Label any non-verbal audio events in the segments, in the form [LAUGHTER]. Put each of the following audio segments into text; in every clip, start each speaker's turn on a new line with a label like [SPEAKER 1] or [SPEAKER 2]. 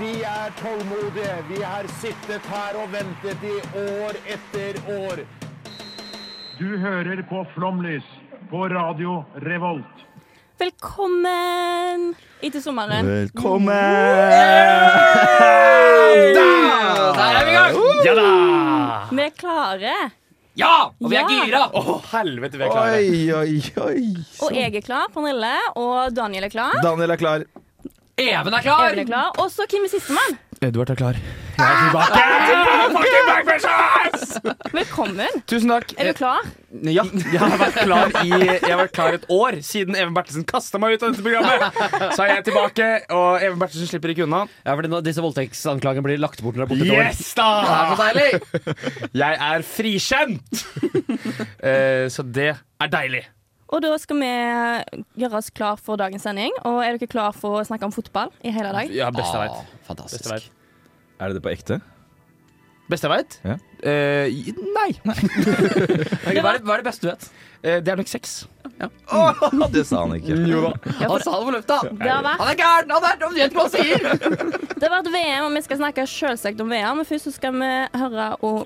[SPEAKER 1] Vi er tålmodige. Vi har sittet her og ventet i år etter år.
[SPEAKER 2] Du hører på Flomlys på Radio Revolt.
[SPEAKER 3] Velkommen etter sommeren.
[SPEAKER 4] Der er vi i gang! Ja da!
[SPEAKER 3] Vi er klare.
[SPEAKER 4] Ja! Og vi er
[SPEAKER 3] Ja.
[SPEAKER 4] gira!
[SPEAKER 5] Helvete, vi er klare.
[SPEAKER 6] oi, oi.
[SPEAKER 3] Og jeg er klar. Pernille og Daniel er klar.
[SPEAKER 6] Daniel er klar.
[SPEAKER 4] Even er klar!
[SPEAKER 3] Even er klar. Og så hvem er sistemann?
[SPEAKER 6] Edvard er klar.
[SPEAKER 3] Velkommen.
[SPEAKER 5] Tusen takk.
[SPEAKER 3] Er du klar?
[SPEAKER 5] Ja, jeg har vært klar i Jeg har vært klar et år siden Even Bertelsen kasta meg ut av dette programmet. Så er jeg tilbake, og Even Bertelsen slipper ikke unna.
[SPEAKER 4] Ja, fordi nå, Disse voldtektsanklagene blir lagt bort når det er borte
[SPEAKER 5] Yes
[SPEAKER 4] Det er
[SPEAKER 5] da!
[SPEAKER 4] så deilig!
[SPEAKER 5] [LAUGHS] Jeg er frikjent!
[SPEAKER 4] [LAUGHS]
[SPEAKER 5] Eh, så det er deilig.
[SPEAKER 3] Og da skal vi gjøre oss klar for dagens sending. Og er dere klar for å snakke om fotball i hele dag?
[SPEAKER 5] Ja, best jeg veit.
[SPEAKER 4] Ah, fantastisk.
[SPEAKER 5] Best jeg vet.
[SPEAKER 6] Er det det på ekte?
[SPEAKER 5] Best jeg vet?
[SPEAKER 6] Ja.
[SPEAKER 5] Eh, i- nei. [LAUGHS]
[SPEAKER 4] Ok, hva, er det, hva er det beste du vet?
[SPEAKER 5] Eh, det er nok sex.
[SPEAKER 6] det sa han ikke. [LAUGHS] Jo da.
[SPEAKER 3] Ja, for
[SPEAKER 4] Han sa det på lufta!
[SPEAKER 3] det har vært,
[SPEAKER 4] Han er gæren! Han er, han vet hva han sier!
[SPEAKER 3] det har vært VM, og vi skal snakke selvsagt om VM. Men først så skal vi høre om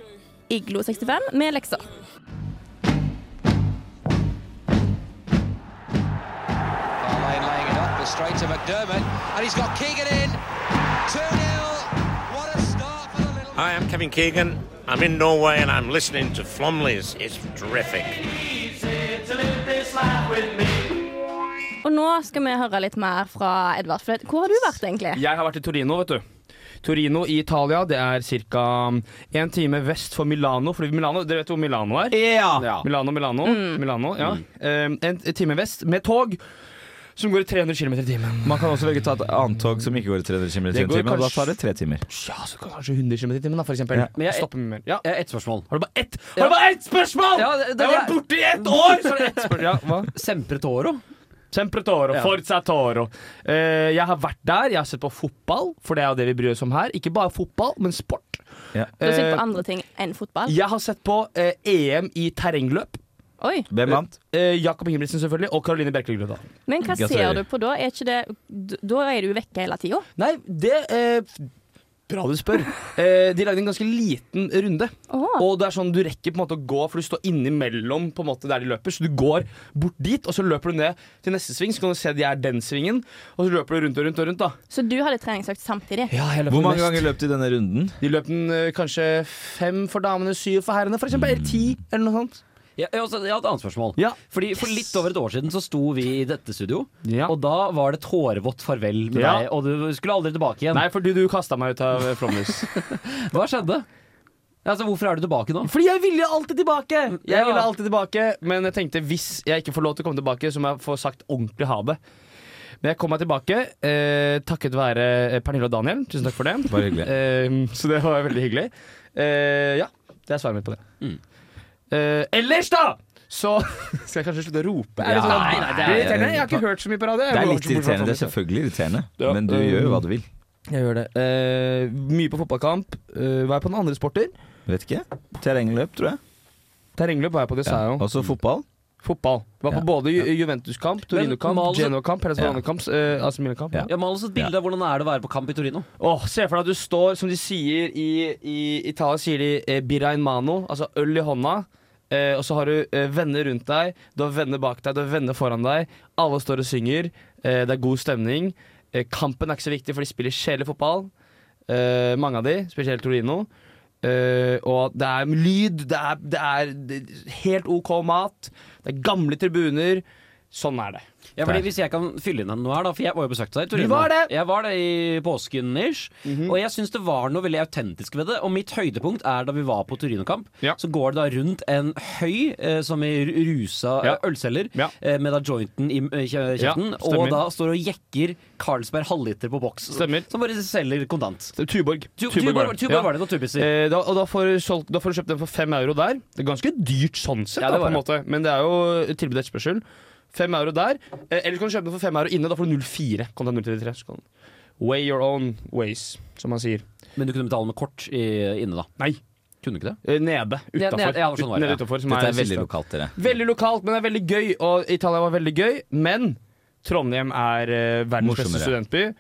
[SPEAKER 3] Iglo 65 med lekser.
[SPEAKER 7] Lane laying it up, but straight to McDermott, and he's got Keegan in. 2 0. What a start for the little.
[SPEAKER 8] Hi, I'm Kevin Keegan. I'm in Norway and I'm listening to Flomley's. It's terrific.
[SPEAKER 3] Og nå skal vi høre litt mer fra Edvard. For hvor har du vært, egentlig?
[SPEAKER 5] Jeg har vært i Torino, vet du. Torino i Italia. Det er ca. én time vest for Milano. Fordi Milano, Dere vet hvor Milano er?
[SPEAKER 4] Ja. Mm.
[SPEAKER 5] Milano, Milano. Milano ja. Eh, en time vest med tog som går i 300 km i timen.
[SPEAKER 6] Man kan også velge å ta et annet tog som ikke går i 300 km i
[SPEAKER 5] Det
[SPEAKER 6] timen,
[SPEAKER 5] går
[SPEAKER 6] og da
[SPEAKER 5] kanskje-
[SPEAKER 6] tar det tre timer.
[SPEAKER 5] Ja, så kanskje 100 km i timen, da, for eksempel.
[SPEAKER 6] Ja.
[SPEAKER 5] Men jeg- Stopper med mer. Ja.
[SPEAKER 4] Jeg har ett spørsmål.
[SPEAKER 5] Har du bare ett
[SPEAKER 4] Ja.
[SPEAKER 5] Har du bare ett spørsmål?!
[SPEAKER 4] Ja, det- det-
[SPEAKER 5] jeg har vært borte i ett år! Så er det ett spørsmål. Ja, hva?
[SPEAKER 4] Sempre Toro.
[SPEAKER 5] Sempre Toro.
[SPEAKER 4] Ja.
[SPEAKER 5] Forza Toro. Eh, jeg har vært der, jeg har sett på fotball, for det er jo det vi bryr oss om her. Ikke bare fotball, men sport.
[SPEAKER 6] Ja.
[SPEAKER 3] Du har sett
[SPEAKER 5] Eh,
[SPEAKER 3] på andre ting enn fotball?
[SPEAKER 5] jeg har sett på eh, EM i terrengløp.
[SPEAKER 3] Oi.
[SPEAKER 6] Hvem vant?
[SPEAKER 5] Eh, Jakob Ingebrigtsen selvfølgelig, og Karoline Bjerkeli Grøtta.
[SPEAKER 3] Men hva
[SPEAKER 6] Gratulerer.
[SPEAKER 3] ser du på da? Er ikke det, d- da er du jo vekke hele tida.
[SPEAKER 5] Nei, det eh, f- Bra du spør. Eh, de lagde en ganske liten runde. Og det er sånn du rekker på en måte å gå, for du står innimellom på en måte der de løper. Så du går bort dit, og så løper du ned til neste sving. Så kan du se de er den svingen, og så løper du rundt og rundt og rundt. da
[SPEAKER 3] Så du hadde treningsøkt samtidig?
[SPEAKER 5] Ja, jeg løper
[SPEAKER 6] Hvor mange
[SPEAKER 5] mest.
[SPEAKER 6] ganger løp du denne runden?
[SPEAKER 5] De løp den eh, kanskje fem for damene, syv for herrene, for eksempel. Eller ti, eller noe sånt.
[SPEAKER 4] Jeg, jeg, har også- jeg har et annet spørsmål.
[SPEAKER 5] Ja.
[SPEAKER 4] Fordi For litt over et år siden så sto vi i dette studio,
[SPEAKER 5] Ja.
[SPEAKER 4] og da var det tårevått farvel med
[SPEAKER 5] Ja.
[SPEAKER 4] deg. Og du skulle aldri tilbake igjen.
[SPEAKER 5] Nei, fordi du kasta meg ut av eh, Flåmlys.
[SPEAKER 4] Hva skjedde? Altså, Hvorfor er du tilbake nå?
[SPEAKER 5] Fordi jeg ville jo alltid tilbake! Jeg
[SPEAKER 4] Ja.
[SPEAKER 5] ville alltid tilbake Men jeg tenkte hvis jeg ikke får lov til å komme tilbake, så må jeg få sagt ordentlig ha det. Men jeg kom meg tilbake eh, takket være eh, Pernille og Daniel. Tusen takk for det.
[SPEAKER 6] Bare hyggelig.
[SPEAKER 5] Eh, så det var veldig hyggelig. Eh, ja, det er svaret mitt på det. Eh, ellers, da! Så [LAUGHS] Skal jeg kanskje slutte å rope? Er det
[SPEAKER 6] Ja.
[SPEAKER 5] sånn-
[SPEAKER 4] Nei, nei, det er-
[SPEAKER 5] Blir det irriterende? Jeg har ikke hørt så mye på radio. Jeg
[SPEAKER 6] Det er
[SPEAKER 5] må
[SPEAKER 6] litt
[SPEAKER 5] bort- bort fra
[SPEAKER 6] irriterende. Det er Mm.
[SPEAKER 5] Flåmlys.
[SPEAKER 6] selvfølgelig irriterende,
[SPEAKER 5] Ja.
[SPEAKER 6] men du gjør jo hva du vil.
[SPEAKER 5] Jeg gjør det. Eh, mye på fotballkamp. Eh, hva er på den andre sporter?
[SPEAKER 6] Vet ikke. Terrengløp, tror jeg.
[SPEAKER 5] Terrengløp var jeg på, det sa jeg jo.
[SPEAKER 6] Også fotball.
[SPEAKER 5] Fotball. Var på
[SPEAKER 6] Ja.
[SPEAKER 5] både Ju Juventus-kamp, Torino-kamp,
[SPEAKER 4] Mal-
[SPEAKER 5] Genoa-kamp, Hellas
[SPEAKER 6] Ja.
[SPEAKER 5] Verona-kamp, eh, AC Milan-kamp.
[SPEAKER 6] Ja.
[SPEAKER 4] Ja, Mal oss et bilde av hvordan er det å være på kamp i Torino.
[SPEAKER 5] Åh, se for deg at du står, som de sier i, i Italia, sier de eh, birra in mano, altså øl i hånda. Eh, og så har du eh, venner rundt deg, du har venner bak deg, du har venner foran deg. Alle står og synger. Eh, det er god stemning. Eh, kampen er ikke så viktig, for de spiller kjedelig fotball. Eh, mange av de, spesielt Torino. Eh, og det er lyd, det er, det er helt OK mat. Det er gamle tribuner. Sånn er det.
[SPEAKER 4] Ja, fordi Hvis jeg kan fylle inn noe her, da, for jeg var jo besøkt deg i Torino.
[SPEAKER 5] Du var det!
[SPEAKER 4] Jeg var det i påsken ish.
[SPEAKER 5] Mhm.
[SPEAKER 4] Og jeg syns det var noe veldig autentisk ved det. Og mitt høydepunkt er da vi var på Torino-kamp.
[SPEAKER 5] Ja.
[SPEAKER 4] Så går det da rundt en høy, eh, som i rusa
[SPEAKER 5] Ja.
[SPEAKER 4] eh, ølselger,
[SPEAKER 5] Ja.
[SPEAKER 4] eh, med da jointen i eh, kje-
[SPEAKER 5] Ja,
[SPEAKER 4] kjeften,
[SPEAKER 5] stemmer.
[SPEAKER 4] og da står og jekker Carlsberg halvliter på boks.
[SPEAKER 5] Stemmer.
[SPEAKER 4] Som bare selger kontant.
[SPEAKER 5] Det er Tuborg.
[SPEAKER 4] Tu- Tuborg var det, Tuborg
[SPEAKER 5] Ja.
[SPEAKER 4] var det noen tubisser.
[SPEAKER 5] Eh, da, og da får, du solgt, da får du kjøpt den for fem euro der. Det er ganske dyrt sånn sett,
[SPEAKER 4] Ja, det
[SPEAKER 5] da, på en
[SPEAKER 4] var
[SPEAKER 5] måte. men det er jo tilbud og etterspørsel. Fem euro der. Eh, eller kan du kjøpe den for fem euro inne. Da får du 04. Kan ta 033. Så kan Way your own ways, som man sier.
[SPEAKER 4] Men du kunne betale med kort i, inne, da.
[SPEAKER 5] Nei.
[SPEAKER 4] Kunne du ikke det?
[SPEAKER 5] Eh, Nede.
[SPEAKER 4] Ja,
[SPEAKER 5] Utafor.
[SPEAKER 4] nede- ja, sånn var det,
[SPEAKER 5] nede
[SPEAKER 4] ja.
[SPEAKER 5] utenfor, som
[SPEAKER 6] Dette er
[SPEAKER 5] siste.
[SPEAKER 6] veldig lokalt, dere.
[SPEAKER 5] Veldig lokalt, men det er veldig gøy. Og Italia var veldig gøy, men Trondheim er eh, verdens beste
[SPEAKER 6] Morsommere.
[SPEAKER 5] studentby.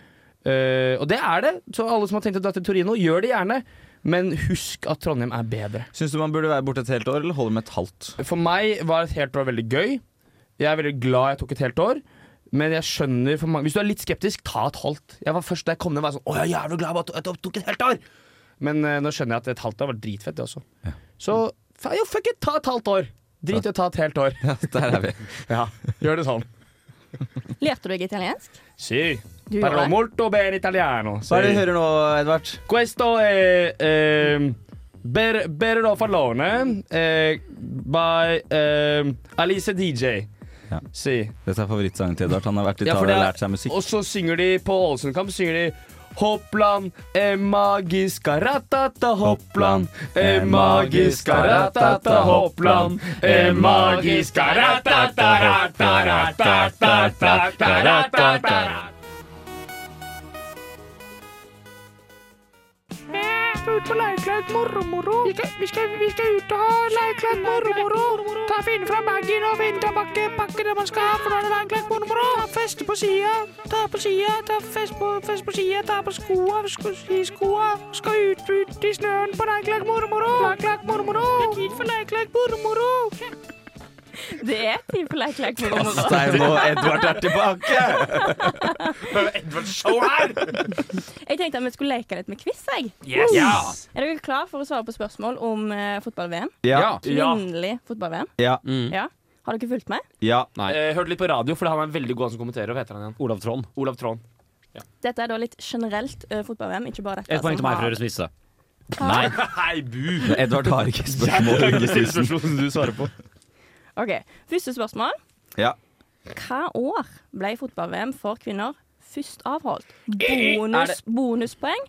[SPEAKER 5] Eh, og det er det, så alle som har tenkt å dra til Torino, gjør det gjerne. Men husk at Trondheim er bedre.
[SPEAKER 6] Syns du man burde være borte et helt år, eller holde med et halvt? [LAUGHS]
[SPEAKER 5] For meg var et helt år veldig gøy. Jeg er veldig glad jeg tok et helt år. Men jeg skjønner for mange Hvis du er litt skeptisk, ta et halvt. Jeg var først da jeg kom ned og var sånn Å, jeg er jævlig glad jeg bare tok- tok et helt år! Men eh, nå skjønner jeg at et halvt år var dritfett, det også. Så fa- jo, fuck it, ta et halvt år! Drit i å ta et helt
[SPEAKER 6] [LAUGHS]
[SPEAKER 5] år.
[SPEAKER 6] Der er vi.
[SPEAKER 5] Ja, gjør det sånn.
[SPEAKER 3] Lærte du deg italiensk?
[SPEAKER 5] Sì,
[SPEAKER 3] Du
[SPEAKER 5] parlo
[SPEAKER 3] gjorde det.
[SPEAKER 5] molto bene italiano.
[SPEAKER 6] Hva er det
[SPEAKER 5] sì.
[SPEAKER 6] du hører nå, Edvard?
[SPEAKER 5] Questo è ehm, Ber- Berro Fallone eh, by ehm, Alice DJ.
[SPEAKER 6] Ja.
[SPEAKER 5] Sì.
[SPEAKER 6] Dette er favorittsangen til Edvard. Han har vært i
[SPEAKER 5] Ja, for det
[SPEAKER 6] Italia og
[SPEAKER 5] er-
[SPEAKER 6] lært seg musikk.
[SPEAKER 5] Og så synger de på Ålesundkamp synger de Hoppland e magiska ratata hoppland e magiska ratata hoppland e magiska ratata ratata ratata ratata ratata
[SPEAKER 3] Det er tid for leik, leik, moro, moro.
[SPEAKER 6] Stein og Edvard er tilbake!
[SPEAKER 3] Jeg tenkte at vi skulle leke litt med quiz. Jeg. Er dere klar for å svare på spørsmål om eh, fotball-VM?
[SPEAKER 6] Ja. Mm.
[SPEAKER 3] Kvinnelig fotball-VM?
[SPEAKER 6] Ja.
[SPEAKER 3] Ja. Har dere fulgt med?
[SPEAKER 6] ja.
[SPEAKER 5] Eh, hørte litt på radio, for han er veldig god han som kommenterer. Hva heter han igjen?
[SPEAKER 4] Olav Trond.
[SPEAKER 5] Olav Trond.
[SPEAKER 3] Dette er da litt generelt eh, fotball-VM, ikke bare dette.
[SPEAKER 4] Et poeng til
[SPEAKER 3] som
[SPEAKER 4] meg
[SPEAKER 3] har-
[SPEAKER 4] for Øres Nisse.
[SPEAKER 3] Nei.
[SPEAKER 5] Hei, bu!
[SPEAKER 6] Edvard har [LAUGHS] ikke spørsmål.
[SPEAKER 5] du svarer på.
[SPEAKER 3] Ok, Første spørsmål.
[SPEAKER 6] Ja.
[SPEAKER 3] Hva år ble fotball-VM for kvinner først avholdt?
[SPEAKER 4] Eh,
[SPEAKER 3] Bonus, bonuspoeng.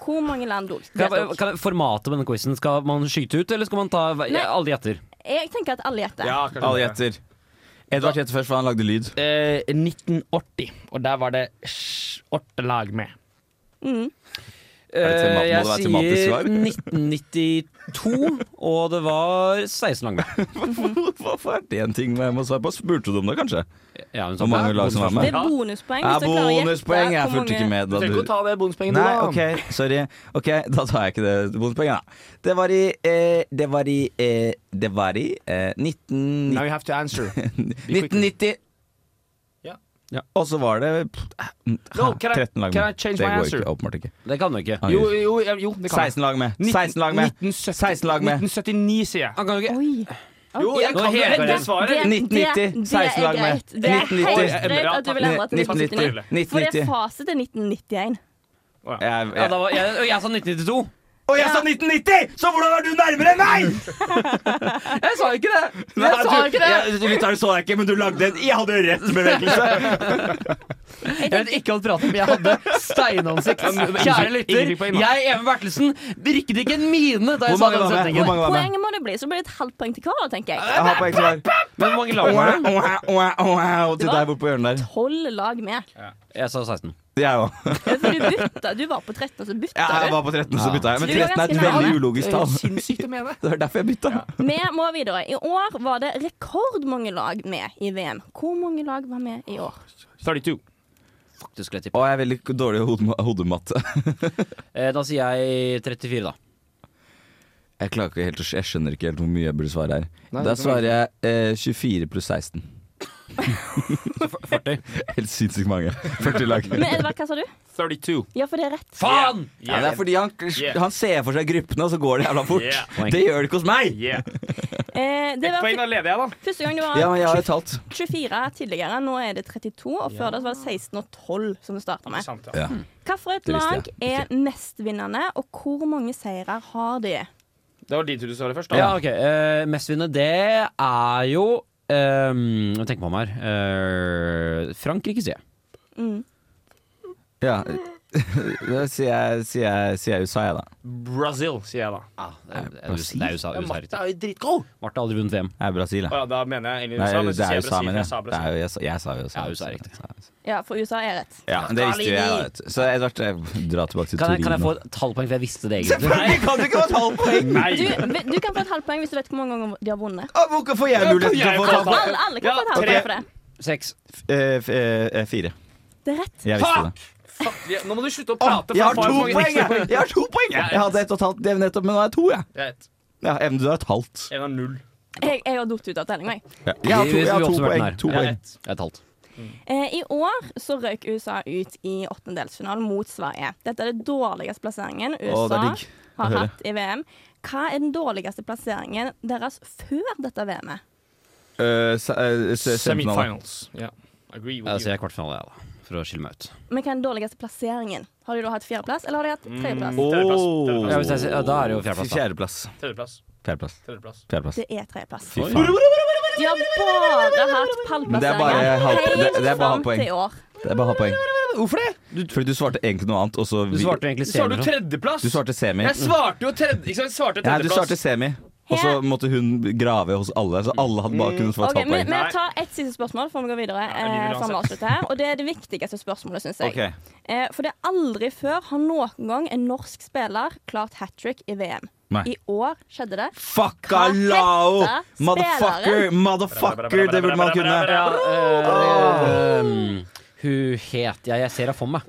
[SPEAKER 3] Hvor mange land dol-
[SPEAKER 4] Kan,
[SPEAKER 3] deltok?
[SPEAKER 4] kan, formatet på denne quizen, skal man skyte ut, eller skal man ta hver-
[SPEAKER 3] Nei.
[SPEAKER 4] alle gjetter?
[SPEAKER 3] Jeg tenker at alle gjetter.
[SPEAKER 5] Ja, kanskje
[SPEAKER 6] Alle
[SPEAKER 5] det.
[SPEAKER 6] gjetter. Edvard gjetter først, for han lagde lyd.
[SPEAKER 5] Eh, 1980, og der var det sj- åtte lag med. Mm. Eh,
[SPEAKER 6] det tema- må det være
[SPEAKER 4] jeg
[SPEAKER 6] tematisk
[SPEAKER 4] sier
[SPEAKER 6] svar? [LAUGHS]
[SPEAKER 4] 1992, og det var 16 lag med.
[SPEAKER 6] [LAUGHS] Hvorfor er det en ting jeg må svare på? Spurte du om det, kanskje?
[SPEAKER 4] Ja, hun sa
[SPEAKER 6] Hvor mange
[SPEAKER 4] det.
[SPEAKER 6] lag som var
[SPEAKER 3] Det
[SPEAKER 6] med?
[SPEAKER 3] er bonuspoeng.
[SPEAKER 6] Ja,
[SPEAKER 3] hvis dere klarer å gjette
[SPEAKER 6] bonuspoeng! Jeg
[SPEAKER 3] hvor
[SPEAKER 6] fulgte ikke
[SPEAKER 3] mange-
[SPEAKER 6] med.
[SPEAKER 5] Du
[SPEAKER 6] Da
[SPEAKER 5] trenger ikke å
[SPEAKER 6] du...
[SPEAKER 5] ta det bonuspoenget,
[SPEAKER 6] Nei,
[SPEAKER 5] du, da.
[SPEAKER 6] OK, sorry. Ok, [LAUGHS] Da tar jeg ikke det bonuspoenget, da. Det var i eh, Det var i eh, Det var i eh, 1990
[SPEAKER 5] Now you have to
[SPEAKER 6] [LAUGHS]
[SPEAKER 5] answer.
[SPEAKER 6] 1990.
[SPEAKER 5] Ja.
[SPEAKER 4] Ja.
[SPEAKER 6] Og så var det pff,
[SPEAKER 5] No, can I-
[SPEAKER 6] 13 lag med.
[SPEAKER 5] can I change
[SPEAKER 6] det
[SPEAKER 5] my
[SPEAKER 6] går
[SPEAKER 5] answer?
[SPEAKER 6] ikke, åpenbart ikke.
[SPEAKER 4] Det kan du ikke.
[SPEAKER 6] Ah,
[SPEAKER 5] Jo, jo, ja, jo, det kan jeg.
[SPEAKER 6] 16 lag med.
[SPEAKER 5] 19
[SPEAKER 6] 16 lag med.
[SPEAKER 5] 1970
[SPEAKER 6] 16 lag med.
[SPEAKER 5] 1979, sier jeg.
[SPEAKER 4] Han kan jo ikke.
[SPEAKER 3] Oi.
[SPEAKER 5] Jo, jeg kan
[SPEAKER 4] Nå
[SPEAKER 5] jo
[SPEAKER 4] heter
[SPEAKER 5] det
[SPEAKER 4] det-
[SPEAKER 5] svaret.
[SPEAKER 3] Det- det-
[SPEAKER 6] 1990,
[SPEAKER 3] det er
[SPEAKER 6] 16 lag med.
[SPEAKER 3] greit. Det er helt
[SPEAKER 6] 1990.
[SPEAKER 3] greit at du vil endre til 1979. For det er
[SPEAKER 6] 1990.
[SPEAKER 3] fasit til 1991.
[SPEAKER 6] Jeg,
[SPEAKER 4] Ja, da
[SPEAKER 6] jeg,
[SPEAKER 4] var, jeg, og jeg sa 1992!
[SPEAKER 6] og jeg sa 1990! Så hvordan er du nærmere enn meg?!
[SPEAKER 4] Jeg sa ikke det!
[SPEAKER 6] Jeg sa ikke det! Lytteren så deg ikke, men du lagde en Jeg hadde jo rett [LAUGHS] bevegelse.
[SPEAKER 4] Jeg vet ikke hva du prater om, jeg hadde steinansikt. Kjære lytter,
[SPEAKER 5] Ingrid på innan.
[SPEAKER 4] jeg, Even Bertelsen, brikket ikke en mine da jeg
[SPEAKER 6] Hvor
[SPEAKER 4] sa
[SPEAKER 6] mange
[SPEAKER 4] den
[SPEAKER 6] var med? Hvor
[SPEAKER 4] setningen.
[SPEAKER 6] mange var med?
[SPEAKER 3] Poenget må det bli, så blir det et halvt poeng til hver, da, tenker jeg.
[SPEAKER 6] Jeg har på ekstra svar.
[SPEAKER 4] Men hvor mange lag var det?
[SPEAKER 6] Og til deg borte på hjørnet der.
[SPEAKER 3] Tolv lag med.
[SPEAKER 4] Jeg sa 16.
[SPEAKER 6] Jeg òg.
[SPEAKER 3] Ja, For du bytta. Du var på 13, og så bytta
[SPEAKER 6] Jeg
[SPEAKER 3] du.
[SPEAKER 6] var på 13, så bytta jeg. Men
[SPEAKER 3] Så du var
[SPEAKER 6] 13 er et
[SPEAKER 3] ganske nærme.
[SPEAKER 6] veldig ulogisk tall.
[SPEAKER 5] Sinnssykt å mene.
[SPEAKER 6] Det var derfor jeg bytta.
[SPEAKER 3] Vi må videre. I år var det rekordmange lag med i VM. Hvor mange lag var med i år?
[SPEAKER 5] 32.
[SPEAKER 4] Fuck, du skulle jeg tippe.
[SPEAKER 6] Og jeg er veldig dårlig i hode- hodematte.
[SPEAKER 4] Eh, Da sier jeg 34, da.
[SPEAKER 6] Jeg klarer ikke helt å, jeg skjønner ikke helt hvor mye jeg burde svare her.
[SPEAKER 5] Nei,
[SPEAKER 6] da
[SPEAKER 5] det kan
[SPEAKER 6] svarer jeg eh, 24 pluss 16. Helt sinnssykt mange. 40 lag.
[SPEAKER 3] Men Edvard, hva sa du?
[SPEAKER 5] 32.
[SPEAKER 3] Ja, for det er rett.
[SPEAKER 4] Faen!
[SPEAKER 6] Ja, det er fordi han, han ser for seg gruppene, og så går det jævla fort.
[SPEAKER 5] Yeah.
[SPEAKER 6] Det gjør det ikke hos meg!
[SPEAKER 3] Eh, det var
[SPEAKER 5] Poeng, da leder jeg, da.
[SPEAKER 3] første gang det
[SPEAKER 6] Ja, men
[SPEAKER 3] var
[SPEAKER 6] jeg har jo talt.
[SPEAKER 3] 24 tidligere. Nå er det 32, og før det så var det 16 og 12 som det starta med.
[SPEAKER 5] Sant, ja.
[SPEAKER 6] Ja.
[SPEAKER 3] Hvilket
[SPEAKER 6] Det visste
[SPEAKER 3] lag
[SPEAKER 6] jeg.
[SPEAKER 3] er mestvinnende, og hvor mange seire har de?
[SPEAKER 5] Det var de to du sa det først, da.
[SPEAKER 4] Ja, ok. Uh, Mestvinnende, det er jo ehm, Tenk meg om her. Eh, Frankrike, sier jeg.
[SPEAKER 6] Ja. [LAUGHS] Da sier jeg, sier jeg, sier jeg USA, jeg, da.
[SPEAKER 5] Brazil, sier jeg da.
[SPEAKER 4] Ah, det, er, det, er, USA- Eh, det er USA. USA riktig.
[SPEAKER 5] er jo dritgod!
[SPEAKER 4] Martha har aldri vunnet VM.
[SPEAKER 6] Det er Brasil,
[SPEAKER 5] Å
[SPEAKER 6] jeg.
[SPEAKER 5] ja, da mener jeg egentlig
[SPEAKER 6] Nei,
[SPEAKER 5] USA, men
[SPEAKER 6] det
[SPEAKER 5] så
[SPEAKER 6] er
[SPEAKER 5] sier jeg
[SPEAKER 6] USA,
[SPEAKER 5] Brasil. for
[SPEAKER 6] men jeg.
[SPEAKER 5] Jeg sa
[SPEAKER 6] Det
[SPEAKER 5] Brasil.
[SPEAKER 6] er jo, jeg, sa- jeg sa jo USA.
[SPEAKER 4] Ja, USA er riktig.
[SPEAKER 3] Ja, for USA er rett.
[SPEAKER 6] Ja, men det visste jo jeg, da. vet du. Så Edvard, jeg drar tilbake til
[SPEAKER 4] Kan jeg, kan jeg få
[SPEAKER 6] Torino.
[SPEAKER 4] et tallpoeng, for jeg visste det [LAUGHS] egentlig?
[SPEAKER 6] Selvfølgelig kan du ikke få tallpoeng!
[SPEAKER 5] Nei!
[SPEAKER 3] Du, du kan få et halvt poeng hvis du vet hvor mange ganger de har vunnet.
[SPEAKER 6] Ah, Hvorfor får jeg mulighet til å få
[SPEAKER 5] Ja,
[SPEAKER 6] tallpoeng?
[SPEAKER 3] Alle, alle kan
[SPEAKER 5] Ja,
[SPEAKER 3] få et halvt
[SPEAKER 5] tre.
[SPEAKER 3] poeng for det.
[SPEAKER 4] Seks.
[SPEAKER 6] Eh, f- eh, Fire.
[SPEAKER 3] Det er rett.
[SPEAKER 6] Jeg visste det.
[SPEAKER 5] Fuck, vi- nå må du slutte å
[SPEAKER 6] Å,
[SPEAKER 5] prate. for
[SPEAKER 6] jeg har
[SPEAKER 5] faen,
[SPEAKER 6] to
[SPEAKER 5] mange
[SPEAKER 6] poeng!
[SPEAKER 5] ekstra
[SPEAKER 6] Jeg, jeg har to poeng jeg. jeg hadde ett og et halvt det er nettopp, men nå har jeg to. Jeg.
[SPEAKER 5] Greit.
[SPEAKER 6] Ja, Even, du har et halvt.
[SPEAKER 5] En av null.
[SPEAKER 3] Jeg, jeg har falt ut av tellinga, jeg.
[SPEAKER 6] Ja. Jeg har to, jeg har
[SPEAKER 4] Vi- vi
[SPEAKER 6] to
[SPEAKER 4] oppsummerte den
[SPEAKER 6] poeng.
[SPEAKER 4] her.
[SPEAKER 6] To
[SPEAKER 4] Ja,
[SPEAKER 6] poeng.
[SPEAKER 4] ett. Jeg har talt.
[SPEAKER 3] Eh, I år så røk USA ut i åttendedelsfinalen mot Sverige. Dette er den dårligste plasseringen
[SPEAKER 6] Å, det
[SPEAKER 3] USA
[SPEAKER 6] er digg å
[SPEAKER 3] har
[SPEAKER 6] høre.
[SPEAKER 3] hatt i VM. Hva er den dårligste plasseringen deres før dette VM-et?
[SPEAKER 6] Eh, se- eh, se- Semifinale.
[SPEAKER 5] Semifinals. Ja. Agree
[SPEAKER 4] Jeg
[SPEAKER 5] with you.
[SPEAKER 4] sier kvartfinale, jeg, da. For å skille meg ut.
[SPEAKER 3] Men hva er den dårligste plasseringen? Har de da hatt fjerdeplass, eller har de hatt tredjeplass?
[SPEAKER 5] Tredjeplass.
[SPEAKER 6] Åh.
[SPEAKER 4] Ja,
[SPEAKER 5] Tredjeplass.
[SPEAKER 4] hvis jeg sier, ja, da er det jo fjerdeplass, da.
[SPEAKER 6] Fjerdeplass.
[SPEAKER 5] Tredjeplass.
[SPEAKER 6] Fjerdeplass.
[SPEAKER 5] Tredjeplass.
[SPEAKER 6] Fjerdeplass.
[SPEAKER 3] Det er tredjeplass.
[SPEAKER 6] Fy faen.
[SPEAKER 3] De har bare hatt
[SPEAKER 6] Men det er bare
[SPEAKER 3] pallplasseringer
[SPEAKER 6] halv- det- det
[SPEAKER 3] helt
[SPEAKER 6] er bare
[SPEAKER 3] fram
[SPEAKER 6] halvpoeng.
[SPEAKER 3] til i år.
[SPEAKER 6] Det er bare halvpoeng.
[SPEAKER 5] Hvorfor det?
[SPEAKER 6] Fordi du svarte egentlig noe annet, og så
[SPEAKER 4] Du svarte egentlig
[SPEAKER 5] Sa du
[SPEAKER 4] senere.
[SPEAKER 5] tredjeplass?
[SPEAKER 6] Du svarte semi.
[SPEAKER 5] Jeg svarte jo tredje... Ikke sant, jeg svarte
[SPEAKER 6] Nei, du
[SPEAKER 5] tredjeplass.
[SPEAKER 6] svarte semi, og så måtte hun grave hos alle. Så alle hadde bare kunnet få et
[SPEAKER 3] Ok, men,
[SPEAKER 6] halvt poeng.
[SPEAKER 3] men jeg tar ett siste spørsmål før vi går videre.
[SPEAKER 5] jeg vil
[SPEAKER 3] eh, før vi
[SPEAKER 5] uansett.
[SPEAKER 3] avslutter her, og Det er det viktigste spørsmålet, syns jeg.
[SPEAKER 6] Ok.
[SPEAKER 3] Eh, for det er aldri før har noen gang en norsk spiller klart hat trick i VM.
[SPEAKER 6] Nei.
[SPEAKER 3] I år skjedde det.
[SPEAKER 6] Fucka lao!
[SPEAKER 3] Hva heter
[SPEAKER 6] Motherfucker!
[SPEAKER 3] spilleren?
[SPEAKER 6] Motherfucker! Det burde man kunne.
[SPEAKER 4] Ja, eh, ehm, hun het ja, Jeg ser henne for meg.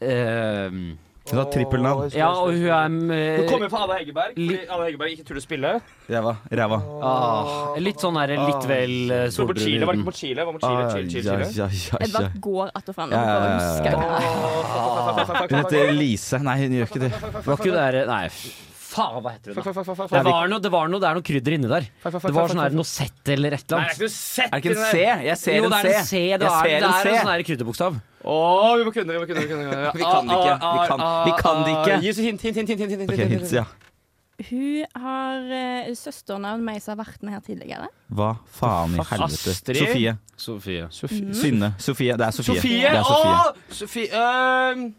[SPEAKER 4] Ehm,
[SPEAKER 6] Hun har trippelnavn.
[SPEAKER 4] ja, og hun er
[SPEAKER 5] Du
[SPEAKER 4] mm,
[SPEAKER 5] kommer på Ada Hegerberg, fordi Ada Hegerberg ikke turte å spille.
[SPEAKER 6] Ræva. Ræva.
[SPEAKER 4] ah, litt sånn der litt vel eh,
[SPEAKER 5] Så på Chile, var det
[SPEAKER 4] solbrun.
[SPEAKER 5] ikke på Chile? Var det på Chile, Chile, Chile,
[SPEAKER 6] Ah, Ja,
[SPEAKER 5] Chile.
[SPEAKER 6] ja, ja, ja.
[SPEAKER 3] Edvard går att og fram.
[SPEAKER 6] Ja, ja, ja, ja, ja. Hun heter Lise. Nei, hun gjør ikke det.
[SPEAKER 4] Var ikke hun der Nei, f- faen, hva heter hun? da? Det var noe, det var noe, det er noe krydder inni der. Det var sånn her Nocette eller et
[SPEAKER 5] Nei, jeg
[SPEAKER 4] eller annet.
[SPEAKER 5] har ikke sett
[SPEAKER 6] Er det ikke en
[SPEAKER 5] den
[SPEAKER 6] C?
[SPEAKER 5] der.
[SPEAKER 6] Jeg ser
[SPEAKER 4] Jo,
[SPEAKER 6] en
[SPEAKER 4] det
[SPEAKER 6] C.
[SPEAKER 4] er en C.
[SPEAKER 6] Jeg
[SPEAKER 4] Det er,
[SPEAKER 6] ser
[SPEAKER 4] det er en
[SPEAKER 6] en
[SPEAKER 4] sånn
[SPEAKER 6] C.
[SPEAKER 4] her krydderbokstav.
[SPEAKER 5] Å, vi må kunne det, vi må kunne det. Vi, må kunne. det.
[SPEAKER 6] Vi kan det ikke.
[SPEAKER 5] Ah,
[SPEAKER 6] Vi kan- vi kan det ikke.
[SPEAKER 5] Gi oss hint, hint, hint. hint, hint, hint,
[SPEAKER 6] Ok, hint, ja.
[SPEAKER 3] Hun har eh, søsternavn meg som har vært med her tidligere.
[SPEAKER 6] Hva faen i helvete?
[SPEAKER 5] Astrid?
[SPEAKER 6] Sofie. Mm.
[SPEAKER 4] Sofie.
[SPEAKER 6] Synne. Sofie. Det er Sofie.
[SPEAKER 5] Sofie!
[SPEAKER 6] Det er Sofie.
[SPEAKER 5] Å, Sofie øhm.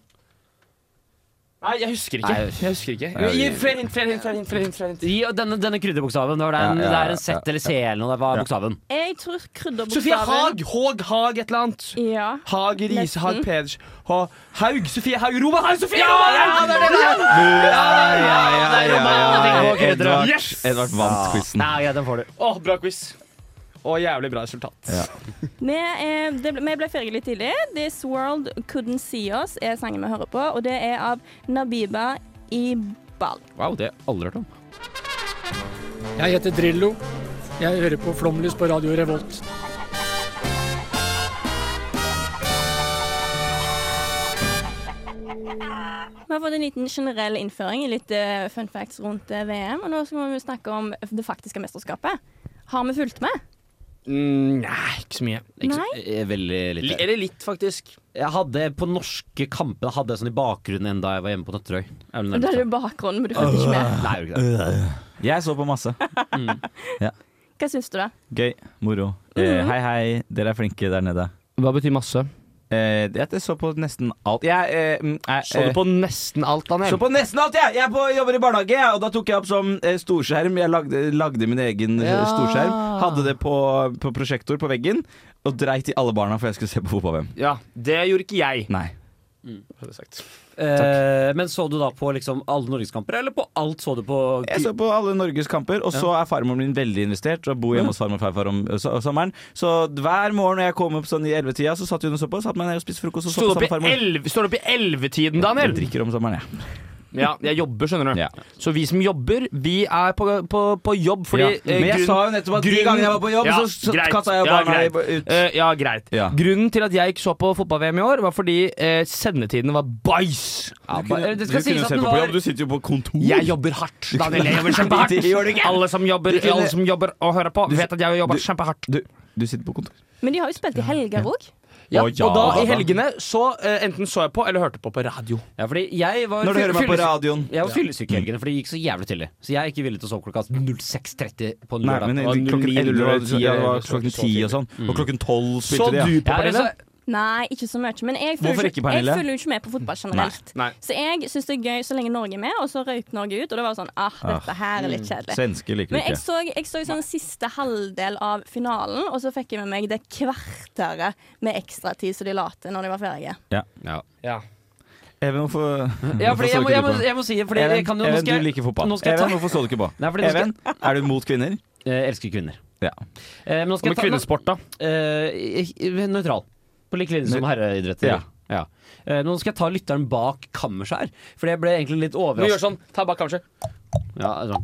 [SPEAKER 5] Nei, jeg husker ikke.
[SPEAKER 4] Nei,
[SPEAKER 5] Jeg husker ikke.
[SPEAKER 6] Nei,
[SPEAKER 5] Gi
[SPEAKER 6] vi-
[SPEAKER 5] flere hint, flere hint, flere hint. flere hint, flere hint.
[SPEAKER 4] Gi denne, denne krydderbokstaven. Det, var
[SPEAKER 6] Ja, ja,
[SPEAKER 4] den, det er
[SPEAKER 6] ja,
[SPEAKER 4] en Z
[SPEAKER 6] ja,
[SPEAKER 4] eller C eller noe. Det var bokstaven.
[SPEAKER 3] Jeg tror krydderbokstaven
[SPEAKER 5] Sofie Haag, Haag, Haag, et eller annet.
[SPEAKER 3] Ja.
[SPEAKER 5] Haag, Riise,
[SPEAKER 3] Nesten.
[SPEAKER 5] Haag, Peders Ha- Haug, Sofie Haug, Roman Haug, Sofie Roman Haug!
[SPEAKER 4] det er det
[SPEAKER 6] Ja,
[SPEAKER 5] Ah,
[SPEAKER 6] ja, ja, ja, ja. Edvard,
[SPEAKER 5] Yes! Ah,
[SPEAKER 6] Edvard vant quizen.
[SPEAKER 4] Nei, greit, den får du.
[SPEAKER 5] Å, bra quiz. Og jævlig bra resultat.
[SPEAKER 3] Vi, eh, det ble, vi ble ferdige litt tidlig. 'This World Couldn't See Us' er sangen vi hører på, og det er av Nabiba Ibal.
[SPEAKER 4] Wow, det har jeg aldri hørt om.
[SPEAKER 9] Jeg heter Drillo. Jeg hører på Flomlys på Radio Revolt.
[SPEAKER 3] Vi har fått en liten generell innføring i litt eh, fun facts rundt eh, VM. Og nå skal vi snakke om det faktiske mesterskapet. Har vi fulgt med?
[SPEAKER 5] Mm, nei, ikke så mye.
[SPEAKER 4] Ikke så-
[SPEAKER 3] Nei.
[SPEAKER 4] eh, Veldig
[SPEAKER 5] Li-
[SPEAKER 4] lite.
[SPEAKER 5] Eller litt, faktisk.
[SPEAKER 4] Jeg hadde på norske kamper jeg hadde jeg sånn i bakgrunnen en da jeg var hjemme på Nøtterøy. Er det
[SPEAKER 3] Da er
[SPEAKER 4] nærmest?
[SPEAKER 3] det jo bakgrunnen, men du fulgte ikke med.
[SPEAKER 4] Nei, jeg gjorde ikke det.
[SPEAKER 6] Jeg så på masse.
[SPEAKER 3] Hva syns du, da?
[SPEAKER 6] Gøy. Moro. Eh,
[SPEAKER 5] Mm-hmm.
[SPEAKER 6] hei, hei. Dere er flinke der nede.
[SPEAKER 5] Hva betyr masse?
[SPEAKER 6] Eh, jeg så på nesten alt. Jeg eh, mm, jeg,
[SPEAKER 5] Så du på nesten alt,
[SPEAKER 6] Så
[SPEAKER 5] Daniel?
[SPEAKER 6] på nesten alt, jeg! Jeg er på, jobber i barnehage, jeg, og da tok jeg opp som eh, storskjerm. Jeg lagde, lagde min egen eh,
[SPEAKER 5] Ja.
[SPEAKER 6] storskjerm. Hadde det på, på prosjektor på veggen, og dreit i alle barna for jeg skulle se på fotball-VM.
[SPEAKER 5] Ja, det gjorde ikke jeg.
[SPEAKER 6] Nei.
[SPEAKER 4] Mm. Eh, men så du da på liksom alle norgeskamper, eller på alt så du på
[SPEAKER 6] Jeg så på alle Norges kamper, og så er farmoren min veldig investert. Og bor hjemme hos farmor og farfar om ø, so- sommeren. Så hver morgen når jeg kom opp sånn i 11-tida, så satt hun og så på. Satt meg ned og spiste frokost og så
[SPEAKER 5] Står
[SPEAKER 6] på
[SPEAKER 5] du opp
[SPEAKER 6] sammen med
[SPEAKER 5] i
[SPEAKER 6] farmor.
[SPEAKER 5] elv- står du opp i ellevetiden,
[SPEAKER 6] Jeg
[SPEAKER 5] Daniel?
[SPEAKER 4] [LAUGHS]
[SPEAKER 6] drikker om sommeren, jeg.
[SPEAKER 5] Ja, jeg jobber, skjønner du.
[SPEAKER 6] Ja.
[SPEAKER 5] Så vi som jobber, vi er på, på, på jobb fordi
[SPEAKER 6] Ja.
[SPEAKER 5] eh,
[SPEAKER 6] Men jeg
[SPEAKER 5] grunn-
[SPEAKER 6] sa jo nettopp at de
[SPEAKER 5] grunn-
[SPEAKER 6] gangene jeg var på jobb,
[SPEAKER 5] Ja,
[SPEAKER 6] så, så
[SPEAKER 5] greit.
[SPEAKER 6] kasta jeg jo
[SPEAKER 5] Ja,
[SPEAKER 6] barna i-
[SPEAKER 5] greit.
[SPEAKER 6] ut.
[SPEAKER 5] Eh, ja, greit.
[SPEAKER 6] Ja.
[SPEAKER 5] Grunnen til at jeg ikke så på fotball-VM i år, var fordi eh, sendetiden var bæsj.
[SPEAKER 6] Ja,
[SPEAKER 4] kunne-
[SPEAKER 6] bare- det
[SPEAKER 4] du
[SPEAKER 6] skal
[SPEAKER 4] kunne
[SPEAKER 6] sies at
[SPEAKER 4] sett
[SPEAKER 6] den
[SPEAKER 4] på på jobb,
[SPEAKER 6] var
[SPEAKER 4] du
[SPEAKER 6] sitter jo på kontor.
[SPEAKER 5] Jeg jobber hardt. Daniel, jeg jobber kjempehardt.
[SPEAKER 6] [LAUGHS] Det gjør du ikke.
[SPEAKER 5] Alle som jobber,
[SPEAKER 6] Du kunne-
[SPEAKER 5] alle som jobber og hører på,
[SPEAKER 6] Du-
[SPEAKER 5] vet at jeg har jobba
[SPEAKER 6] du-
[SPEAKER 5] kjempehardt.
[SPEAKER 6] Du, du sitter på kontor.
[SPEAKER 3] Men de har jo spilt i helger òg.
[SPEAKER 5] Ja,
[SPEAKER 6] Å, ja,
[SPEAKER 5] og da, i
[SPEAKER 6] da.
[SPEAKER 5] helgene, så eh, enten så jeg på eller hørte på på radio.
[SPEAKER 4] Ja, fordi jeg var
[SPEAKER 6] Når du hører meg på
[SPEAKER 4] fyllesyk-
[SPEAKER 6] radioen.
[SPEAKER 4] Jeg var fyllesyk i helgene, for det gikk så jævlig tidlig. Så jeg er ikke villig til å sove klokka 06.30 på en
[SPEAKER 6] Nei,
[SPEAKER 4] lørdag.
[SPEAKER 6] men
[SPEAKER 4] Og
[SPEAKER 6] klokken 11
[SPEAKER 4] 09:00
[SPEAKER 6] og 10, ja, det var
[SPEAKER 5] så-
[SPEAKER 6] klokken
[SPEAKER 5] så
[SPEAKER 6] 10 og sånn. Og klokken 12
[SPEAKER 5] Så
[SPEAKER 6] spilte de.
[SPEAKER 5] du
[SPEAKER 6] ja.
[SPEAKER 5] på,
[SPEAKER 4] Ja,
[SPEAKER 5] Pernille?
[SPEAKER 4] altså,
[SPEAKER 3] Nei, ikke så mye. Men jeg følger,
[SPEAKER 6] Hvorfor ikke, Pernille?
[SPEAKER 3] jeg følger jo ikke med på fotball generelt.
[SPEAKER 5] Nei. Nei.
[SPEAKER 3] Så jeg syns det er gøy så lenge Norge er med, og så røyk Norge ut. Og det var sånn ah, dette her er litt kjedelig.
[SPEAKER 6] Svensker liker
[SPEAKER 3] Men
[SPEAKER 6] det
[SPEAKER 3] jeg
[SPEAKER 6] ikke.
[SPEAKER 3] så, jeg så sånn siste halvdel av finalen, og så fikk jeg med meg det kvarteret med ekstratid som de la til når de var ferdige.
[SPEAKER 5] Ja.
[SPEAKER 6] Even, hvorfor,
[SPEAKER 4] ja,
[SPEAKER 6] hvorfor
[SPEAKER 4] fordi
[SPEAKER 6] så
[SPEAKER 4] jeg,
[SPEAKER 6] du
[SPEAKER 4] må,
[SPEAKER 6] ikke
[SPEAKER 4] jeg, må,
[SPEAKER 6] du på?
[SPEAKER 4] jeg må si det, fordi jeg kan jo nå
[SPEAKER 6] Even,
[SPEAKER 4] skal jeg-
[SPEAKER 6] du liker fotball.
[SPEAKER 4] Nå skal jeg ta
[SPEAKER 6] Even, hvorfor så du ikke på?
[SPEAKER 4] Nei, fordi nå skal-
[SPEAKER 6] Even, er du mot kvinner?
[SPEAKER 4] Jeg elsker kvinner.
[SPEAKER 6] Ja.
[SPEAKER 4] Eh, men nå
[SPEAKER 5] Og
[SPEAKER 4] skal
[SPEAKER 5] med
[SPEAKER 4] jeg ta
[SPEAKER 5] kvinnesport, da.
[SPEAKER 4] Eh, eh, Nøytral. På lik linje som herreidretter.
[SPEAKER 6] Ja.
[SPEAKER 4] Ja. Eh, nå skal jeg ta lytteren bak kammerset her, for jeg ble egentlig litt
[SPEAKER 5] Du gjør
[SPEAKER 4] overrasket.
[SPEAKER 5] sånn. Ta bak kammerset.
[SPEAKER 4] Ja, sånn.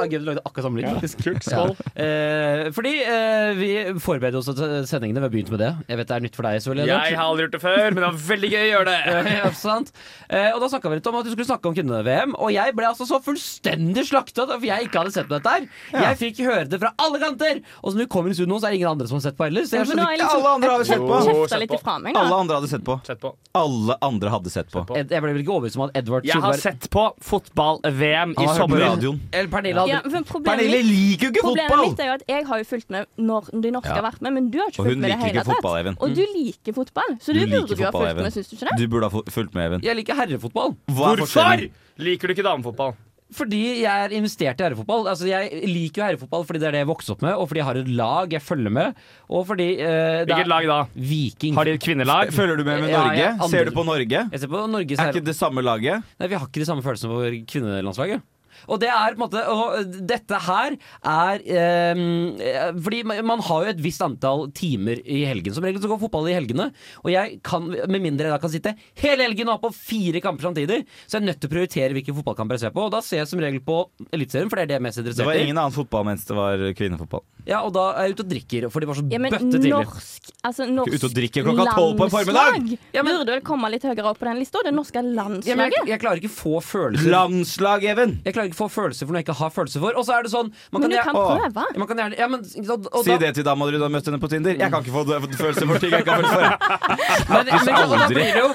[SPEAKER 4] Gøy, du lagde akkurat samme lyd. faktisk.
[SPEAKER 5] Kult. Skål.
[SPEAKER 4] Eh, fordi eh, vi forbereder oss til sendingene. Vi har begynt med det. Jeg vet det er nytt for deg, selvfølgelig. Henrik.
[SPEAKER 5] Jeg har aldri gjort det før, men det var veldig gøy å gjøre det.
[SPEAKER 4] ja, [LAUGHS] sant. Eh, og da snakka vi litt om at du skulle snakke om kvinne-VM, og jeg ble altså så fullstendig slakta for jeg ikke hadde sett på dette her. Jeg fikk høre det fra alle kanter! Og som du kommer inn i studio nå, så er det ingen andre som har sett på heller. Så
[SPEAKER 3] Men
[SPEAKER 4] jeg
[SPEAKER 3] nå
[SPEAKER 4] skjønner
[SPEAKER 3] har jeg
[SPEAKER 4] ikke
[SPEAKER 3] liksom-
[SPEAKER 6] sånn Alle andre har jo sett på.
[SPEAKER 3] Jeg
[SPEAKER 5] Jo,
[SPEAKER 3] kjefta
[SPEAKER 5] sett
[SPEAKER 3] litt
[SPEAKER 5] på.
[SPEAKER 3] ifra meg, da.
[SPEAKER 6] Alle andre hadde sett på.
[SPEAKER 5] Sett på.
[SPEAKER 6] Alle andre hadde sett på.
[SPEAKER 4] Ed, Jeg ble vel ikke overbevist om at Edvard
[SPEAKER 5] Jeg har
[SPEAKER 4] Solberg Ah,
[SPEAKER 5] sett på fotball-VM i
[SPEAKER 6] Han har hørt på
[SPEAKER 5] sommer.
[SPEAKER 6] radioen.
[SPEAKER 4] Eller Pernille
[SPEAKER 3] Ja,
[SPEAKER 4] hadde
[SPEAKER 3] men problemet
[SPEAKER 6] Pernille
[SPEAKER 3] mitt,
[SPEAKER 6] liker jo ikke
[SPEAKER 3] problemet
[SPEAKER 6] fotball!
[SPEAKER 3] mitt er jo at jeg har jo fulgt med når de norske
[SPEAKER 6] Ja.
[SPEAKER 3] har vært med, men du har ikke
[SPEAKER 6] Og hun
[SPEAKER 3] fulgt med i det
[SPEAKER 6] liker
[SPEAKER 3] hele
[SPEAKER 6] ikke fotball, Even. Mm.
[SPEAKER 3] tatt. Og du liker fotball, så du,
[SPEAKER 6] Du liker
[SPEAKER 3] burde jo ha
[SPEAKER 6] fotball,
[SPEAKER 3] fulgt
[SPEAKER 6] Even.
[SPEAKER 3] med, syns du ikke det?
[SPEAKER 6] Du burde ha fu- fulgt med, Even.
[SPEAKER 4] Jeg liker herrefotball
[SPEAKER 6] Hva er
[SPEAKER 5] Hvorfor
[SPEAKER 6] forskjellen?
[SPEAKER 5] liker du ikke damefotball?
[SPEAKER 4] fordi jeg er investert i herrefotball. Altså, jeg liker jo herrefotball fordi det er det jeg vokste opp med, og fordi jeg har et lag jeg følger med, og fordi eh, det er-
[SPEAKER 5] Hvilket lag da?
[SPEAKER 4] Viking.
[SPEAKER 5] Har de et kvinnelag?
[SPEAKER 6] Følger du med med
[SPEAKER 4] Ja,
[SPEAKER 6] Norge?
[SPEAKER 4] jeg- andre-
[SPEAKER 6] Ser du på Norge?
[SPEAKER 4] Jeg ser på Norges
[SPEAKER 6] Er
[SPEAKER 4] herre...
[SPEAKER 6] ikke det samme laget?
[SPEAKER 4] Nei, vi har ikke de samme følelsene for kvinnelandslaget. Og det er på en måte og Dette her er ehm, eh, Fordi man man har jo et visst antall timer i helgen. Som regel så går fotball i helgene. Og jeg kan, med mindre jeg da kan sitte hele helgen og ha på fire kamper samtidig, så jeg er nødt til å prioritere hvilke fotballkamper jeg ser på. Og da ser jeg som regel på Eliteserien, for det er det jeg er mest
[SPEAKER 6] Det
[SPEAKER 4] interessert
[SPEAKER 6] var
[SPEAKER 4] i.
[SPEAKER 6] ingen annen fotball mens det var kvinnefotball.
[SPEAKER 4] Ja, og da er jeg ute og drikker, for de var så
[SPEAKER 3] Ja, men
[SPEAKER 4] bøtte tidlig.
[SPEAKER 3] norsk altså norsk
[SPEAKER 6] ut og drikke klokka 12 på en formiddag.
[SPEAKER 3] landslag
[SPEAKER 4] Ja, men-
[SPEAKER 3] burde vel komme litt høyere opp på den lista. Det norske landslaget.
[SPEAKER 4] Ja, men jeg, jeg klarer ikke få følelser
[SPEAKER 6] Landslag, Even!
[SPEAKER 4] Jeg klarer ikke få følelser for noe jeg ikke har følelser for. Og så er det sånn man
[SPEAKER 3] men du
[SPEAKER 4] gjerne-
[SPEAKER 3] kan
[SPEAKER 6] Å.
[SPEAKER 3] prøve.
[SPEAKER 4] Ja, Man kan gjerne, ja, men, og, og
[SPEAKER 6] Si
[SPEAKER 4] da-
[SPEAKER 6] det til dama du har møtt henne på Tinder. Jeg kan ikke få dø- følelser for ting jeg ikke har følelser
[SPEAKER 4] [LAUGHS]
[SPEAKER 6] for.
[SPEAKER 4] Men, men, men og da
[SPEAKER 6] aldri.
[SPEAKER 4] blir det jo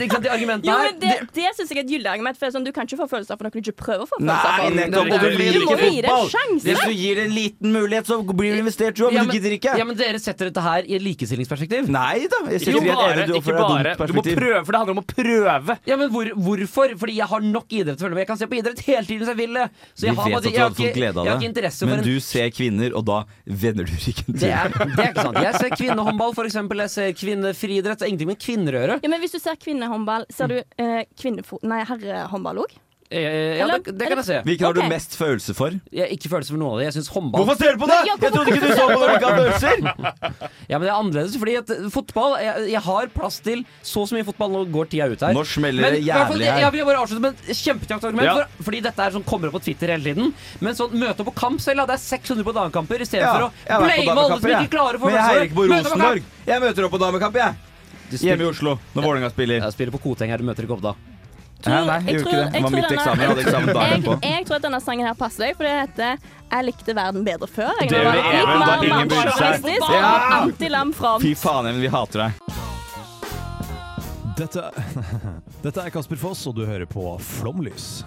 [SPEAKER 4] ikke sant, De argumentene
[SPEAKER 3] Jo,
[SPEAKER 4] her
[SPEAKER 3] men Det, det syns jeg er et gyldig argument. For det er sånn, Du kan ikke få følelser for noe du ikke prøver å få følelser
[SPEAKER 6] Nei,
[SPEAKER 3] for.
[SPEAKER 6] nettopp! Og du
[SPEAKER 3] Du må
[SPEAKER 6] liker
[SPEAKER 3] jo gi det en
[SPEAKER 6] fotball!
[SPEAKER 3] sjanse.
[SPEAKER 6] Hvis du gir det en liten mulighet, så blir du investert, jo,
[SPEAKER 4] Ja,
[SPEAKER 6] men du gidder ikke.
[SPEAKER 4] Ja, men Dere setter dette her i et likestillingsperspektiv.
[SPEAKER 6] Nei da. Jeg
[SPEAKER 5] Jo,
[SPEAKER 6] sitter helt
[SPEAKER 5] bare,
[SPEAKER 6] enig, du
[SPEAKER 5] ikke
[SPEAKER 6] oppfører deg
[SPEAKER 5] bare.
[SPEAKER 6] dumt
[SPEAKER 5] Du må
[SPEAKER 6] perspektiv.
[SPEAKER 5] prøve, for det handler om å prøve.
[SPEAKER 4] Ja, men hvor, Hvorfor? Fordi jeg har nok idrett til å følge med. Jeg kan se på idrett hele tiden hvis jeg vil det. Så
[SPEAKER 6] Vi
[SPEAKER 4] jeg har,
[SPEAKER 6] vet
[SPEAKER 4] bare-
[SPEAKER 6] at du
[SPEAKER 4] jeg har
[SPEAKER 6] hadde fått
[SPEAKER 4] ikke-
[SPEAKER 6] glede
[SPEAKER 4] Jeg
[SPEAKER 6] av
[SPEAKER 4] har ikke
[SPEAKER 6] det,
[SPEAKER 4] interesse for
[SPEAKER 6] men
[SPEAKER 4] en
[SPEAKER 6] du ser kvinner, og da vender du ryggen
[SPEAKER 4] det
[SPEAKER 6] til.
[SPEAKER 4] er, det er ikke sant. Jeg ser kvinnehåndball, for eksempel. Jeg ser kvinnefriidrett. Det er ingenting med kvinner å gjøre.
[SPEAKER 3] Ja, men Hvis du ser kvinnehåndball, ser du eh, kvinnefo- nei, herrehåndball òg?
[SPEAKER 4] Eh, Ja, det, det kan jeg se.
[SPEAKER 6] Hvilken har du
[SPEAKER 3] Ok.
[SPEAKER 6] mest følelse for?
[SPEAKER 4] Jeg har ikke følelse for noe av det. Jeg syns håndball
[SPEAKER 6] Hvorfor ser du på det?!
[SPEAKER 3] Ja,
[SPEAKER 6] Jeg trodde ikke du så på når du ikke hadde følelser!
[SPEAKER 4] Ja, men det er annerledes, fordi at eh, fotball jeg, jeg har plass til så og så mye fotball. Nå går tida ut her.
[SPEAKER 6] Nå smeller det
[SPEAKER 4] i hvert
[SPEAKER 6] jævlig
[SPEAKER 4] fall, jeg, jeg
[SPEAKER 6] her.
[SPEAKER 4] vil bare avslutte med et kjempekraftig argument.
[SPEAKER 5] Ja.
[SPEAKER 4] For, fordi dette er sånn kommer opp på Twitter hele tiden. Men sånn møte opp på kamp selv, da. Det er 600 på damekamper istedenfor
[SPEAKER 6] Ja, jeg
[SPEAKER 4] å
[SPEAKER 6] har vært på
[SPEAKER 4] blame alle
[SPEAKER 6] damekamper,
[SPEAKER 4] som
[SPEAKER 6] jeg.
[SPEAKER 4] ikke klarer å få
[SPEAKER 6] Men jeg heier ikke på
[SPEAKER 4] Møte opp kamp!
[SPEAKER 6] Rosenborg. Jeg møter opp på damekamp, jeg.
[SPEAKER 4] Du
[SPEAKER 6] Hjemme
[SPEAKER 4] spiller,
[SPEAKER 6] i Oslo, når Vålerenga spiller.
[SPEAKER 4] jeg spiller på Koteng her, du møter ikke opp da.
[SPEAKER 6] Hæ, nei, jeg
[SPEAKER 3] jeg
[SPEAKER 6] gjorde
[SPEAKER 3] tror-
[SPEAKER 6] ikke det. Det
[SPEAKER 3] jeg
[SPEAKER 6] var
[SPEAKER 3] tror
[SPEAKER 6] mitt
[SPEAKER 3] denne-
[SPEAKER 6] eksamen. Jeg hadde eksamen dagen
[SPEAKER 3] Jeg,
[SPEAKER 6] på.
[SPEAKER 3] jeg tror at denne sangen her passer deg, for det heter 'Jeg likte verden bedre før'. Jeg
[SPEAKER 5] Det
[SPEAKER 3] var
[SPEAKER 5] gjorde
[SPEAKER 3] litt
[SPEAKER 5] Even
[SPEAKER 3] mer
[SPEAKER 5] da ingen
[SPEAKER 3] mann-
[SPEAKER 5] brydde seg.
[SPEAKER 3] sjåvinistisk,
[SPEAKER 6] Ja!
[SPEAKER 3] Anti-lam from.
[SPEAKER 6] Fy faen, Even, vi hater deg.
[SPEAKER 10] Dette, dette er Kasper Foss, og du hører på Flomlys.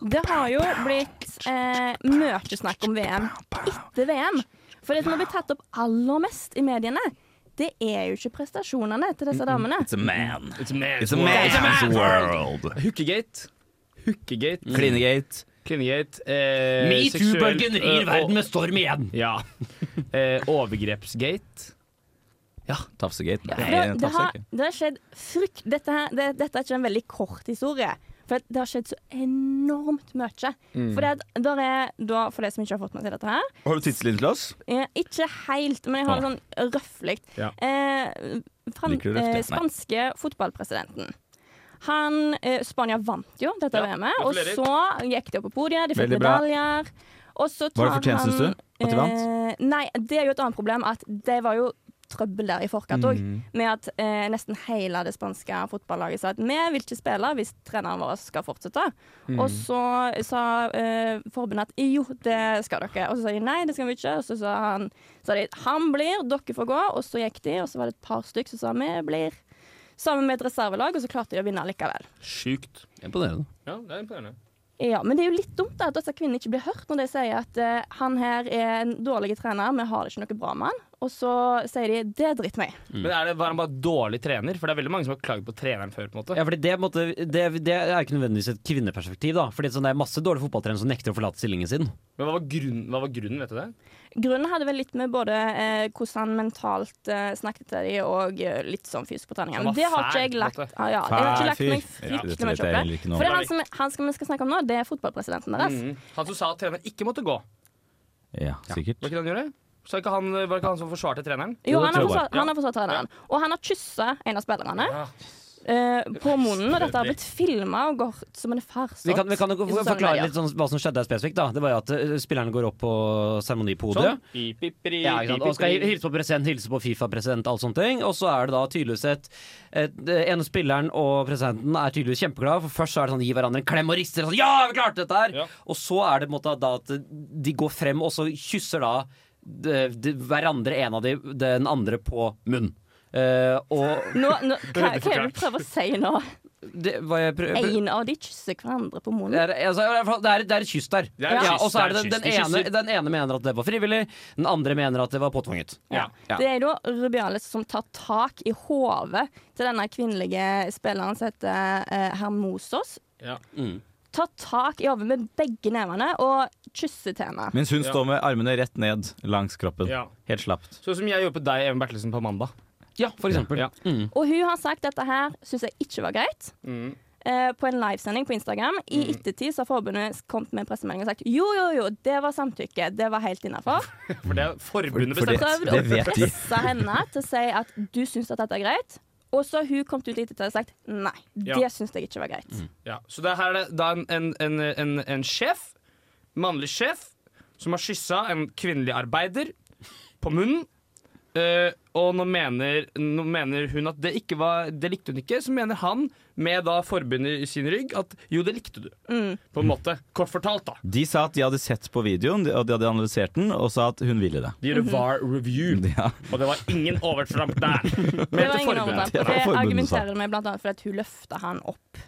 [SPEAKER 3] Det har jo blitt eh, mye snakk om VM etter VM. For det som har blitt tatt opp aller mest i mediene, det er jo ikke prestasjonene til disse damene.
[SPEAKER 6] It's a man.
[SPEAKER 5] It's a man's
[SPEAKER 6] It's a man's world. Mm.
[SPEAKER 5] Hookegate. Hookegate.
[SPEAKER 6] Klinegate.
[SPEAKER 5] Kvinnegate. Eh, seksuelt,
[SPEAKER 4] Metoo-bølgen rir
[SPEAKER 5] eh, og-
[SPEAKER 4] verden med storm igjen!
[SPEAKER 5] Ja. Eh, overgrepsgate.
[SPEAKER 6] Tafsegate. Nei,
[SPEAKER 3] For det, det,
[SPEAKER 6] tafser
[SPEAKER 3] har,
[SPEAKER 6] ikke.
[SPEAKER 3] det har skjedd frykt... Dette, her, det, dette er ikke en veldig kort historie, For det har skjedd så enormt mye.
[SPEAKER 6] Mm.
[SPEAKER 3] For det at der er da, for de som ikke har fått med seg dette her
[SPEAKER 6] Har du tidslinjen til oss?
[SPEAKER 3] eh, Ikke helt, men jeg har det sånn røfflig.
[SPEAKER 6] Ja.
[SPEAKER 3] Eh, fran,
[SPEAKER 6] Liker du røft,
[SPEAKER 3] eh,
[SPEAKER 6] ja? Nei.
[SPEAKER 3] spanske fotballpresidenten. Han, eh, Spania vant jo dette
[SPEAKER 6] Ja,
[SPEAKER 3] VM-et, og
[SPEAKER 6] gratulerer.
[SPEAKER 3] så gikk de opp på podiet, de fikk
[SPEAKER 6] Veldig bra.
[SPEAKER 3] medaljer. Og så
[SPEAKER 6] Var det
[SPEAKER 3] tar
[SPEAKER 6] fortjent,
[SPEAKER 3] han-
[SPEAKER 6] synes du, at de vant?
[SPEAKER 3] Eh, nei, det er jo et annet problem at det var jo trøbbel der i forkant òg.
[SPEAKER 6] Mm.
[SPEAKER 3] Med at eh, nesten hele det spanske fotballaget sa at vi vil ikke spille hvis treneren vår skal fortsette.
[SPEAKER 11] Mm.
[SPEAKER 3] Og så sa eh, forbundet at jo, det skal dere. Og så sa de nei, det skal vi ikke. Og så sa han sa de, han blir, dere får gå. Og så gikk de, og så var det et par stykk som sa vi blir. Sammen med et reservelag, og så klarte de å vinne likevel.
[SPEAKER 5] Sjukt.
[SPEAKER 4] Imponerende.
[SPEAKER 5] Ja, det er imponerende.
[SPEAKER 3] Ja, Men det er jo litt dumt da, at disse kvinnene ikke blir hørt når de sier at eh, han her er en dårlig trener, vi har det ikke noe bra med han. Og så sier de det driter vi i.
[SPEAKER 4] Mm.
[SPEAKER 5] Men er det, var han bare dårlig trener? For det er veldig mange som har klaget på treneren før. på en måte
[SPEAKER 4] Ja, fordi det, på en måte- det, det er ikke nødvendigvis et kvinneperspektiv. da Fordi sånn, Det er masse dårlige fotballtrenere som nekter å forlate stillingen sin.
[SPEAKER 5] Men hva var grunnen, hva var grunnen vet du det?
[SPEAKER 3] Grunnen hadde vel litt med både eh, hvordan han mentalt eh, snakket til dem, og eh, litt sånn fysisk på treninga.
[SPEAKER 5] Han
[SPEAKER 3] Men
[SPEAKER 5] var
[SPEAKER 3] det har ikke
[SPEAKER 5] fæl,
[SPEAKER 3] jeg lagt,
[SPEAKER 5] på en måte.
[SPEAKER 3] ah, ja, jeg har ikke
[SPEAKER 5] Fæl
[SPEAKER 3] lagt meg
[SPEAKER 5] fyr. Ja,
[SPEAKER 3] fryktelig
[SPEAKER 5] dette vet
[SPEAKER 3] mye
[SPEAKER 5] jeg
[SPEAKER 3] opp
[SPEAKER 5] heller
[SPEAKER 3] i.
[SPEAKER 5] ikke noe om.
[SPEAKER 3] For det er han som, han som vi skal snakke om nå, det er fotballpresidenten deres.
[SPEAKER 5] Mm. Han som sa at treneren ikke måtte gå.
[SPEAKER 6] Ja, sikkert.
[SPEAKER 5] Var ikke det han gjorde? Så ikke han, var ikke han som forsvarte treneren?
[SPEAKER 3] Jo, han har, forsvart, han har forsvart treneren. Og han har kyssa en av spillerne. eh, på munnen, og dette har blitt filma og gått som en farsott.
[SPEAKER 4] Vi kan, vi kan jo
[SPEAKER 3] i sosiale medier.
[SPEAKER 4] forklare litt sånn, hva som skjedde der spesifikt. da Det var jo at eh, spillerne går opp på seremoni på hodet.
[SPEAKER 5] Sånn. Pip, pip, pip,
[SPEAKER 4] Ja, ikke sant? Og skal hil- hilse på president, hilse på Fifa-president, alt sånne ting. Og så er det da tydeligvis et, et det ene spilleren og presidenten er tydeligvis kjempeglade, for først så er det sånn gi hverandre en klem og rister sånn Ja, vi klarte dette her! Og så er det på en måte da at de går frem, og så kysser da de, de, hverandre, en av de, den andre på munn. Eh, og
[SPEAKER 3] Nå, nå, hva, hva er det du prøver å si nå?
[SPEAKER 4] det, hva jeg prøver,
[SPEAKER 3] En av de kysser hverandre på munnen.
[SPEAKER 4] det er, altså, i hvert fall, det, er, det er et kyss der.
[SPEAKER 3] er et
[SPEAKER 4] Ja,
[SPEAKER 3] kyss,
[SPEAKER 4] og så
[SPEAKER 3] det
[SPEAKER 4] er
[SPEAKER 3] er
[SPEAKER 4] det
[SPEAKER 3] et
[SPEAKER 4] den, den,
[SPEAKER 3] kyss. De
[SPEAKER 4] ene,
[SPEAKER 3] kysser.
[SPEAKER 4] den ene mener at det var frivillig, den andre mener at det var påtvunget.
[SPEAKER 3] Ja. Det er da Rubiales som tar tak i hodet til denne kvinnelige spilleren som heter eh, Hermosos.
[SPEAKER 5] Ja.
[SPEAKER 3] Tar tak i hodet med begge nevene og kysser til henne.
[SPEAKER 6] Mens hun står med armene rett ned langs kroppen.
[SPEAKER 5] Ja.
[SPEAKER 6] Helt slapt.
[SPEAKER 5] Sånn som jeg gjorde på deg, Even Bertelsen, på mandag.
[SPEAKER 4] Ja, for eksempel.
[SPEAKER 5] Ja.
[SPEAKER 3] Og hun har sagt dette her syns jeg ikke var greit.
[SPEAKER 5] Mm.
[SPEAKER 3] eh, På en livesending på Instagram. I ettertid så har forbundet kommet med en pressemelding og sagt jo, jo, jo, det var samtykke. Det var helt innafor.
[SPEAKER 5] For det er forbundet
[SPEAKER 6] For- for det-
[SPEAKER 5] bestemt.
[SPEAKER 6] det vet de.
[SPEAKER 3] pressa henne til å si at du syns at dette er greit. Og så har hun kommet ut litt etter og sagt nei,
[SPEAKER 5] Ja.
[SPEAKER 3] det syns jeg ikke var greit.
[SPEAKER 6] Mm.
[SPEAKER 5] Ja. Så det her er det da en, en, en, en, en sjef, mannlig sjef, som har kyssa en kvinnelig arbeider på munnen. Eh, og nå mener, nå mener hun at det ikke var Det likte hun ikke. Så mener han, med da forbundet i sin rygg, at jo, det likte du. På en måte. Kort fortalt, da.
[SPEAKER 6] De sa at de hadde sett på videoen, og de hadde analysert den, og sa at hun ville det.
[SPEAKER 5] De gjorde VAR review,
[SPEAKER 6] Ja.
[SPEAKER 5] og det var ingen overtramp [LAUGHS] der.
[SPEAKER 3] Det var ingen overtramp.
[SPEAKER 6] Det
[SPEAKER 3] Det,
[SPEAKER 6] var forbundet,
[SPEAKER 3] argumenterer de med blant annet fordi at hun løfta han opp.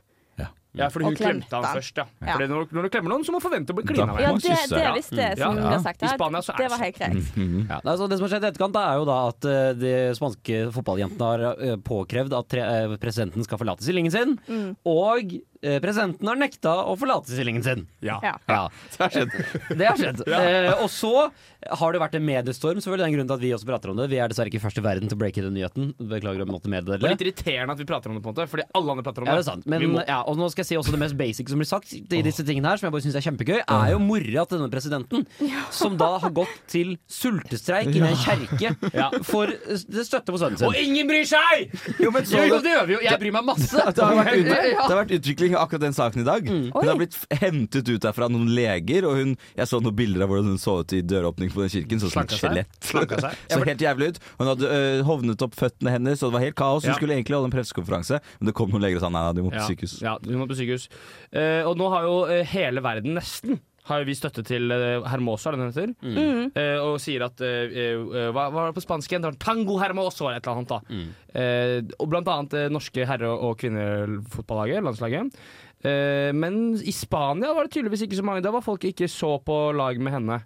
[SPEAKER 5] Ja, fordi
[SPEAKER 3] Og
[SPEAKER 5] hun klemte han
[SPEAKER 3] klemte han.
[SPEAKER 5] først, ja.
[SPEAKER 3] Ja.
[SPEAKER 5] Fordi når, når du klemmer noen, så må du forvente å bli
[SPEAKER 6] Da
[SPEAKER 5] klina
[SPEAKER 6] får
[SPEAKER 5] med.
[SPEAKER 3] Ja, det, det er visst det som
[SPEAKER 5] Ja.
[SPEAKER 3] blir sagt
[SPEAKER 5] I
[SPEAKER 3] her.
[SPEAKER 5] Spania så er
[SPEAKER 3] det var helt
[SPEAKER 6] Mm.
[SPEAKER 3] greit.
[SPEAKER 4] Ja, nei, så det som har skjedd i etterkant, da, er jo da at eh, de spanske fotballjentene har eh, påkrevd at tre, eh, presidenten skal forlate stillingen sin.
[SPEAKER 3] Mm.
[SPEAKER 4] Og eh, presidenten har nekta å forlate stillingen sin.
[SPEAKER 5] Ja.
[SPEAKER 3] Ja.
[SPEAKER 4] Det har skjedd. Det har skjedd. Eh, og så har det vært en mediestorm, selvfølgelig. Det er en grunn til at vi også prater om det. Vi er dessverre ikke først i verden til å breake den nyheten. Beklager å måtte meddele.
[SPEAKER 5] Det er litt irriterende at vi prater om det, på en måte fordi alle andre prater om
[SPEAKER 4] Ja,
[SPEAKER 5] det.
[SPEAKER 4] det er sant. Men,
[SPEAKER 5] Vi må-
[SPEAKER 4] ja, og nå skal jeg si også det mest basic som blir sagt i disse tingene her, som jeg bare synes er kjempegøy, er jo mora til denne presidenten, som da har gått til sultestreik inne i en kjerke
[SPEAKER 5] Ja.
[SPEAKER 4] for eh, støtte på sønnen sin.
[SPEAKER 5] Og ingen bryr seg!
[SPEAKER 6] Jo, men så
[SPEAKER 4] Jo, jo,
[SPEAKER 6] det-
[SPEAKER 4] det gjør vi jo. Jeg bryr meg masse.
[SPEAKER 6] Det har, vært ut, det
[SPEAKER 4] Ja.
[SPEAKER 6] har vært utvikling av akkurat den saken i dag. Hun har blitt f- hentet ut derfra av noen leger, og hun, jeg så noen bilder av hvordan hun så ut i døråpningen på den kirken. Så som et
[SPEAKER 5] Slanka seg.
[SPEAKER 6] skjelett.
[SPEAKER 5] Slanka seg.
[SPEAKER 6] [LAUGHS] Så helt jævlig ut. Hun hadde øh, hovnet opp føttene hennes, og det var helt kaos. Hun
[SPEAKER 5] Ja.
[SPEAKER 6] skulle egentlig holde en pressekonferanse, men det kom noen leger og sa nei, nei, du må på
[SPEAKER 5] Ja.
[SPEAKER 6] sykehus.
[SPEAKER 5] Ja, vi må på sykehus. Eh, og nå har jo eh, hele verden, nesten, har jo vi støtte til eh, Hermoso, er det den heter?
[SPEAKER 3] Mm.
[SPEAKER 5] Eh, og sier at eh, eh, Hva hva var det på spansk igjen? Det var Tango Hermoso eller et eller annet. da
[SPEAKER 3] Mm.
[SPEAKER 5] Eh, Og blant annet eh, norske herre- og kvinnefotballaget, landslaget. Eh, men i Spania var det tydeligvis ikke så mange. Da var folk ikke så på lag med henne.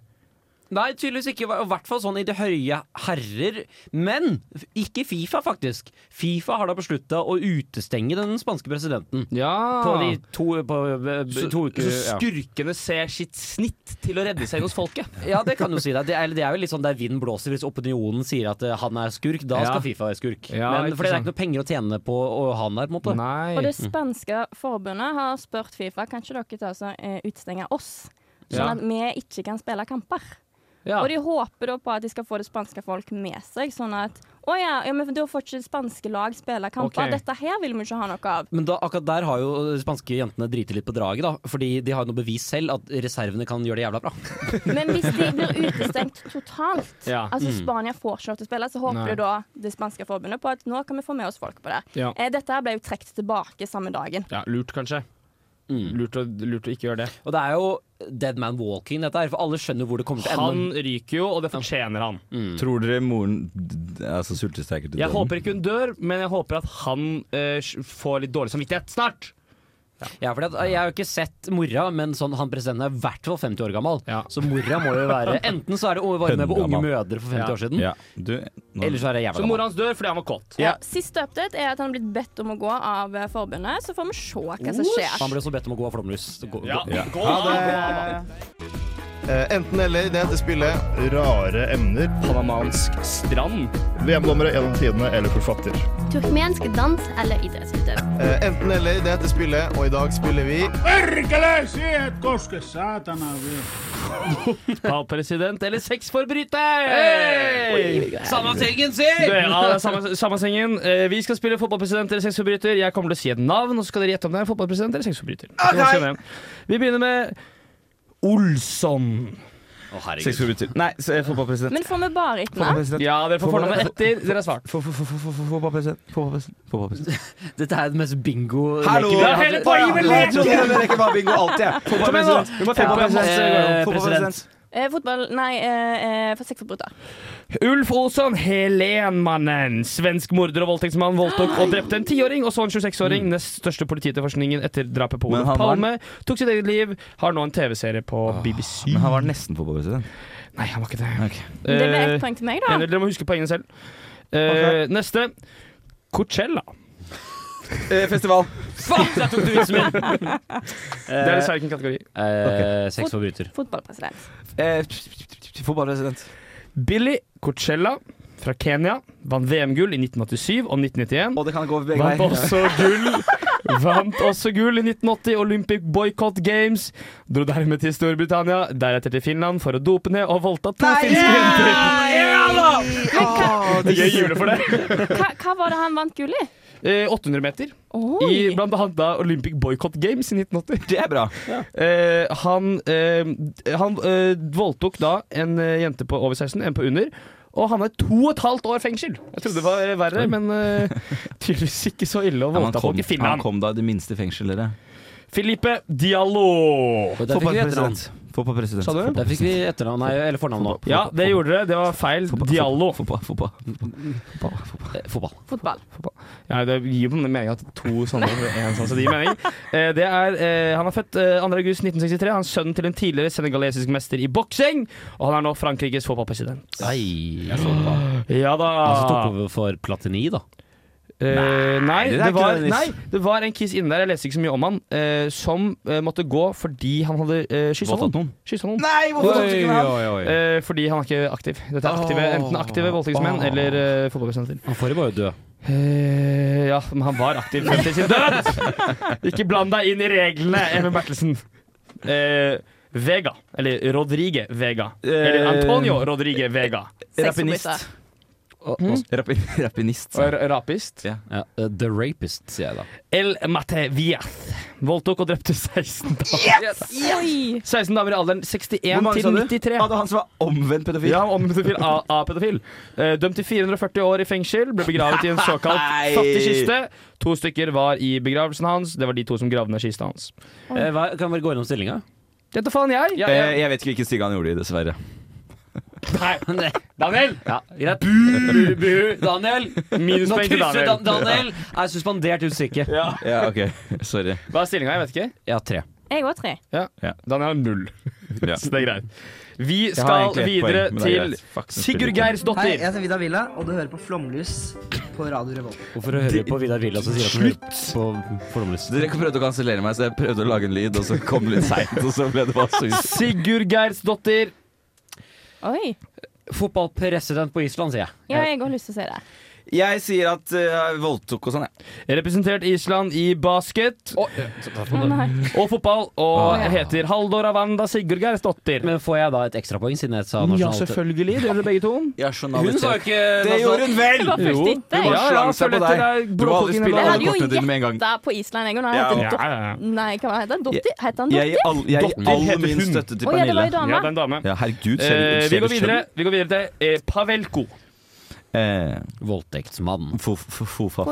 [SPEAKER 4] Nei, tydeligvis ikke. I hvert fall sånn i det høye herrer. Men ikke Fifa, faktisk. Fifa har da beslutta å utestenge den spanske presidenten. På de to, på, [LAUGHS] eh,
[SPEAKER 5] Så,
[SPEAKER 4] to uker
[SPEAKER 5] så
[SPEAKER 4] ja.
[SPEAKER 5] skurkene ser sitt snitt til å redde seg inn hos folket.
[SPEAKER 4] Ja, det kan du si. Det er, det er jo litt sånn der vinden blåser hvis opinionen sier at eh, han er skurk. Da
[SPEAKER 5] Ja.
[SPEAKER 4] skal Fifa være skurk.
[SPEAKER 5] Ja,
[SPEAKER 4] Men,
[SPEAKER 5] ikke
[SPEAKER 4] fordi det er
[SPEAKER 5] sant.
[SPEAKER 4] ikke noe penger å tjene på å ha han der, på en måte.
[SPEAKER 5] Nei.
[SPEAKER 3] Og det
[SPEAKER 6] Mm.
[SPEAKER 3] spanske forbundet har spurt Fifa kan ikke dere ta så, eh, utestenge oss, sånn
[SPEAKER 5] Ja.
[SPEAKER 3] at vi ikke kan spille kamper.
[SPEAKER 5] Ja.
[SPEAKER 3] Og de håper da på at de skal få det spanske folk med seg, sånn at å ja, ja, men da får ikke spanske lag spille kamper.
[SPEAKER 4] Ok.
[SPEAKER 3] Dette her vil vi ikke ha noe av.
[SPEAKER 4] Men da, akkurat der har jo de spanske jentene driti litt på draget, da. Fordi de har jo noe bevis selv at reservene kan gjøre det jævla bra.
[SPEAKER 3] Men hvis de blir utestengt totalt,
[SPEAKER 4] Ja.
[SPEAKER 3] altså
[SPEAKER 4] Mm.
[SPEAKER 3] Spania får ikke lov til å spille, så håper
[SPEAKER 4] Nei.
[SPEAKER 3] jo da det spanske forbundet på at nå kan vi få med oss folk på det.
[SPEAKER 5] Ja.
[SPEAKER 3] Eh, Dette her ble jo trukket tilbake samme dagen.
[SPEAKER 5] Ja, lurt kanskje. Lurt, å, lurt å ikke gjøre det.
[SPEAKER 4] Og det er jo Dead Man Walking, dette her. For alle skjønner hvor det kommer til å
[SPEAKER 5] Han
[SPEAKER 4] ende.
[SPEAKER 5] ryker jo, og det fortjener han.
[SPEAKER 6] Mm. Tror dere moren d- altså, sultestreiker til
[SPEAKER 5] Jeg
[SPEAKER 6] døden?
[SPEAKER 5] håper ikke hun dør, men jeg håper at han eh, får litt dårlig samvittighet snart.
[SPEAKER 4] Ja, fordi at Jeg har jo ikke sett mora, men sånn, han presidenten er i hvert fall 50 år gammel. Så mora må jo være Enten så er det var hun med på Unge
[SPEAKER 6] Høngammal.
[SPEAKER 4] mødre for 50 år siden,
[SPEAKER 6] Ja. Du, nå-
[SPEAKER 4] eller så er det jævla
[SPEAKER 5] Så mora hans dør fordi han var kåt.
[SPEAKER 3] Ja. Eh, Siste update er at han er blitt bedt om å gå av eh, forbundet, så får vi se hva som skjer.
[SPEAKER 4] Han ble også bedt om å gå av flomlys. Så gå-
[SPEAKER 5] Ja.
[SPEAKER 4] gå-
[SPEAKER 5] Gå,
[SPEAKER 11] Ha
[SPEAKER 5] da,
[SPEAKER 11] det.
[SPEAKER 5] gå, da.
[SPEAKER 11] Eh, enten eller, det heter spillet Rare emner. Panamansk strand. VM-dommere gjennom tidene eller forfatter.
[SPEAKER 12] Turkmensk dans eller idrettsutøvelse.
[SPEAKER 11] Eh, enten eller, det heter spillet, og i dag spiller vi
[SPEAKER 13] Perkele, siihen koske, saatana vielä.
[SPEAKER 5] President eller sexforbryter!
[SPEAKER 4] Hey! Samme sengen, si!
[SPEAKER 5] Du, Ja, det er samme, samme sengen. Eh, vi skal spille fotballpresident eller sexforbryter. Jeg kommer til å si et navn, og så skal dere gjette om det er fotballpresident eller sexforbryter. Vi må se hvem. Vi begynner med Olsson.
[SPEAKER 4] Å,
[SPEAKER 6] Sexforbryter.
[SPEAKER 5] Nei, s- eh, fotballpresident.
[SPEAKER 3] Men får vi bare ikke noe?
[SPEAKER 5] Ja, dere får fornavnet etter dere har svart.
[SPEAKER 4] Dette er det mest bingo
[SPEAKER 6] Hallo!
[SPEAKER 4] leken vi har hatt.
[SPEAKER 6] Hele poenget med leken! Jeg trodde dere ikke var bingo alltid, jeg.
[SPEAKER 4] Kom igjen, da! Du må finne på en masse-
[SPEAKER 5] Eh,
[SPEAKER 4] President.
[SPEAKER 3] Eh, fotball Nei, eh, eh, for sexforbryter.
[SPEAKER 5] Ulf Olsson, Helenmannen. Svensk morder og voldtektsmann voldtok og drepte en tiåring og så en
[SPEAKER 3] Mm.
[SPEAKER 5] 26-åring. Nest største politietterforskningen etter drapet på
[SPEAKER 6] Men
[SPEAKER 5] Olof
[SPEAKER 6] han var- Ah.
[SPEAKER 5] Palme. Tok sitt eget liv. Har nå en TV-serie på BBC.
[SPEAKER 6] Men han var nesten fotballpresident.
[SPEAKER 5] Nei, han var ikke
[SPEAKER 3] Det
[SPEAKER 5] det.
[SPEAKER 3] ble
[SPEAKER 5] Eh,
[SPEAKER 3] ett poeng til meg, da.
[SPEAKER 5] Henrik, dere må huske poengene selv. Eh, Neste.
[SPEAKER 6] [LAUGHS]
[SPEAKER 5] Coachella.
[SPEAKER 6] Eh, festival.
[SPEAKER 4] Fuck, der tok du vitsen
[SPEAKER 5] Det
[SPEAKER 6] [LAUGHS]
[SPEAKER 4] min!
[SPEAKER 5] er dessverre ikke en kategori.
[SPEAKER 4] Eh,
[SPEAKER 3] Fot-
[SPEAKER 4] Sexforbryter.
[SPEAKER 3] Fotballpresident.
[SPEAKER 6] Eh, Fotballpresident.
[SPEAKER 5] Billy Coachella fra Kenya vant VM-gull i 1987 og 1991.
[SPEAKER 6] Og det kan gå begge
[SPEAKER 5] Vant
[SPEAKER 6] veier.
[SPEAKER 5] også gull [LAUGHS] Vant også gull i 1980 Olympic Boycott Games. Dro dermed til Storbritannia, deretter til Finland for å dope ned og voldta to finske jenter. Det er gøy jule for det.
[SPEAKER 3] Hva, hva var det han vant gull i?
[SPEAKER 5] Eh, 800 meter. I blant annet da Olympic Boycott Games i 1980.
[SPEAKER 6] Det er bra.
[SPEAKER 5] Eh, han eh, han eh, voldtok da en eh, jente på over 16, en på under. Og han har to og et halvt år fengsel! Jeg trodde det var verre, men eh, tydeligvis ikke så ille å
[SPEAKER 6] Ja, men han,
[SPEAKER 5] voldta
[SPEAKER 6] kom,
[SPEAKER 5] folk i
[SPEAKER 6] han
[SPEAKER 5] Finland.
[SPEAKER 6] kom da i det minste fengselet. dere.
[SPEAKER 5] Filipe Diallo.
[SPEAKER 4] der fikk vi etternavn.
[SPEAKER 6] Fotballpresident. Fotballpresident.
[SPEAKER 5] Sa du?
[SPEAKER 4] Der fikk vi etternavn, nei, eller fornavn òg.
[SPEAKER 5] Ja, det gjorde dere. Det var feil. Diallo.
[SPEAKER 6] Fotball. Fotball. Fotball.
[SPEAKER 4] Fotball.
[SPEAKER 3] Fotball.
[SPEAKER 5] Ja, det gir jo mening at to sånne [LAUGHS] og en sånn, så det gir mening. Eh, det er, eh, han er født eh, 2. august 1963. Han er sønnen til en tidligere senegalesisk mester i boksing. Og han er nå Frankrikes fotballpresident.
[SPEAKER 4] Nei
[SPEAKER 5] Ja da.
[SPEAKER 4] Han som tok over for Platini, da.
[SPEAKER 5] Eh, nei,
[SPEAKER 4] det er
[SPEAKER 5] det
[SPEAKER 4] ikke
[SPEAKER 5] var,
[SPEAKER 4] det, Dennis.
[SPEAKER 5] nei, det var en kiss inne der, jeg leste ikke så mye om han, eh, som eh, måtte gå fordi han hadde eh, kyssa
[SPEAKER 6] Voldtatt
[SPEAKER 5] noen. Kyssa noen.
[SPEAKER 6] Nei, hvorfor Oi, voldtok han? oi, oi.
[SPEAKER 5] Eh, fordi han er ikke aktiv. Dette er aktive,
[SPEAKER 6] Åh.
[SPEAKER 5] enten aktive voldtektsmenn
[SPEAKER 6] Åh.
[SPEAKER 5] eller eh, fotballpresidenter.
[SPEAKER 4] Han får jo bare dø.
[SPEAKER 5] Eh, ja, men han var aktiv frem til sin
[SPEAKER 6] [LAUGHS]
[SPEAKER 5] død! Ikke bland deg inn i reglene, Even Bertelsen. Eh, Vega. Eller Rodrige Vega. Eller Antonio Hmm? Rodrige Vega.
[SPEAKER 6] Eh, Rapinist. Rapi- [LAUGHS] Rapinist.
[SPEAKER 5] Og ra- rapist?
[SPEAKER 6] Ja.
[SPEAKER 4] Ja, eh, the Rapist, sier jeg da.
[SPEAKER 5] El Matevias. Voldtok og drepte 16 damer.
[SPEAKER 3] Oi!
[SPEAKER 5] 16 damer i alderen 61
[SPEAKER 6] Hvor mange
[SPEAKER 5] til
[SPEAKER 6] sa du?
[SPEAKER 5] 93.
[SPEAKER 6] Hadde han som var omvendt pedofil?
[SPEAKER 5] Ja, om pedofil av av pedofil. Eh, dømt til 440 år i fengsel. Ble begravet i en såkalt
[SPEAKER 6] Nei.
[SPEAKER 5] fattig kiste. To stykker var i begravelsen hans. Det var de to som gravde ned kista hans.
[SPEAKER 4] Eh, hva, kan vi gå gjennom stillinga?
[SPEAKER 5] Dette faen jeg! jeg,
[SPEAKER 6] Eh,
[SPEAKER 5] jeg.
[SPEAKER 6] jeg vet ikke hvilken stige han gjorde i,
[SPEAKER 5] [LAUGHS]
[SPEAKER 6] dessverre.
[SPEAKER 4] [LAUGHS]
[SPEAKER 5] Nei. Daniel!
[SPEAKER 4] Ja, greit.
[SPEAKER 5] Bu, bu.
[SPEAKER 4] [LAUGHS] Daniel! Nå
[SPEAKER 5] Minuspoeng til
[SPEAKER 4] krysser
[SPEAKER 5] Daniel.
[SPEAKER 4] Dan Daniel! Er suspendert ut syke.
[SPEAKER 5] Ja.
[SPEAKER 6] Ja, ok. Sorry.
[SPEAKER 5] Hva er stillinga? Jeg vet ikke.
[SPEAKER 4] Ja, tre.
[SPEAKER 3] Jeg òg tre.
[SPEAKER 5] Ja. Daniel har [LAUGHS] null. Så det er greit. Vi
[SPEAKER 14] Jeg har
[SPEAKER 5] skal
[SPEAKER 14] egentlig ett
[SPEAKER 5] videre
[SPEAKER 14] poeng, men det er
[SPEAKER 5] til
[SPEAKER 14] greit. Fuck, det spiller
[SPEAKER 5] Sigurd
[SPEAKER 14] ikke.
[SPEAKER 5] Geirsdottir.
[SPEAKER 15] Hei, jeg heter Vidar Villa, og du hører på Flomlys på Radio Revolt.
[SPEAKER 4] Hvorfor hører du på Vidar Villa som sier at Slutt! På fordomløs.
[SPEAKER 6] Dere prøvde å kansellere meg, så jeg prøvde å lage en lyd, og så kom det litt seint. Og så ble det bare sus.
[SPEAKER 5] Sigurd Geirsdottir.
[SPEAKER 3] Oi.
[SPEAKER 4] Fotballpresident på Island, sier jeg.
[SPEAKER 5] Eh,
[SPEAKER 3] Ja, jeg har lyst til å si det.
[SPEAKER 6] Jeg sier at uh, voldtok og sånn, jeg.
[SPEAKER 5] Representert Island i basket og, og fotball, og
[SPEAKER 4] Å, ja.
[SPEAKER 5] heter Haldor Avanda Sigurd Geirsdottir.
[SPEAKER 4] Men får jeg da et ekstrapoeng siden jeg sa
[SPEAKER 5] Ja,
[SPEAKER 4] nasjonalitet?
[SPEAKER 5] selvfølgelig. Det gjør dere begge to.
[SPEAKER 4] Hun sa jo ikke
[SPEAKER 6] Det
[SPEAKER 5] Altså,
[SPEAKER 6] gjorde hun vel!
[SPEAKER 5] Jo, hun bare slang seg på deg.
[SPEAKER 6] Du har
[SPEAKER 5] Blåkokken i
[SPEAKER 6] aldri spilt
[SPEAKER 3] Jeg
[SPEAKER 6] alle
[SPEAKER 3] hadde jo
[SPEAKER 6] kortene dine med en gang.
[SPEAKER 3] gjetta på Island, jeg òg.
[SPEAKER 6] Ja,
[SPEAKER 3] Ja,
[SPEAKER 6] ja, ja.
[SPEAKER 3] Nei, hva heter han? Dotti? Heter han
[SPEAKER 6] Jeg gir all, jeg gir
[SPEAKER 3] Dotti?
[SPEAKER 6] all
[SPEAKER 5] heter
[SPEAKER 6] min
[SPEAKER 5] hun.
[SPEAKER 6] støtte til
[SPEAKER 3] Å, ja, det var
[SPEAKER 6] Pernille.
[SPEAKER 3] en dame.
[SPEAKER 5] Ja, det er en dame.
[SPEAKER 6] Ja, herregud, ser du-
[SPEAKER 5] Eh, vi,
[SPEAKER 6] ser du
[SPEAKER 5] går videre,
[SPEAKER 6] selv?
[SPEAKER 5] vi går videre til eh, Pavelko.
[SPEAKER 6] Eh,
[SPEAKER 4] Voldtektsmann.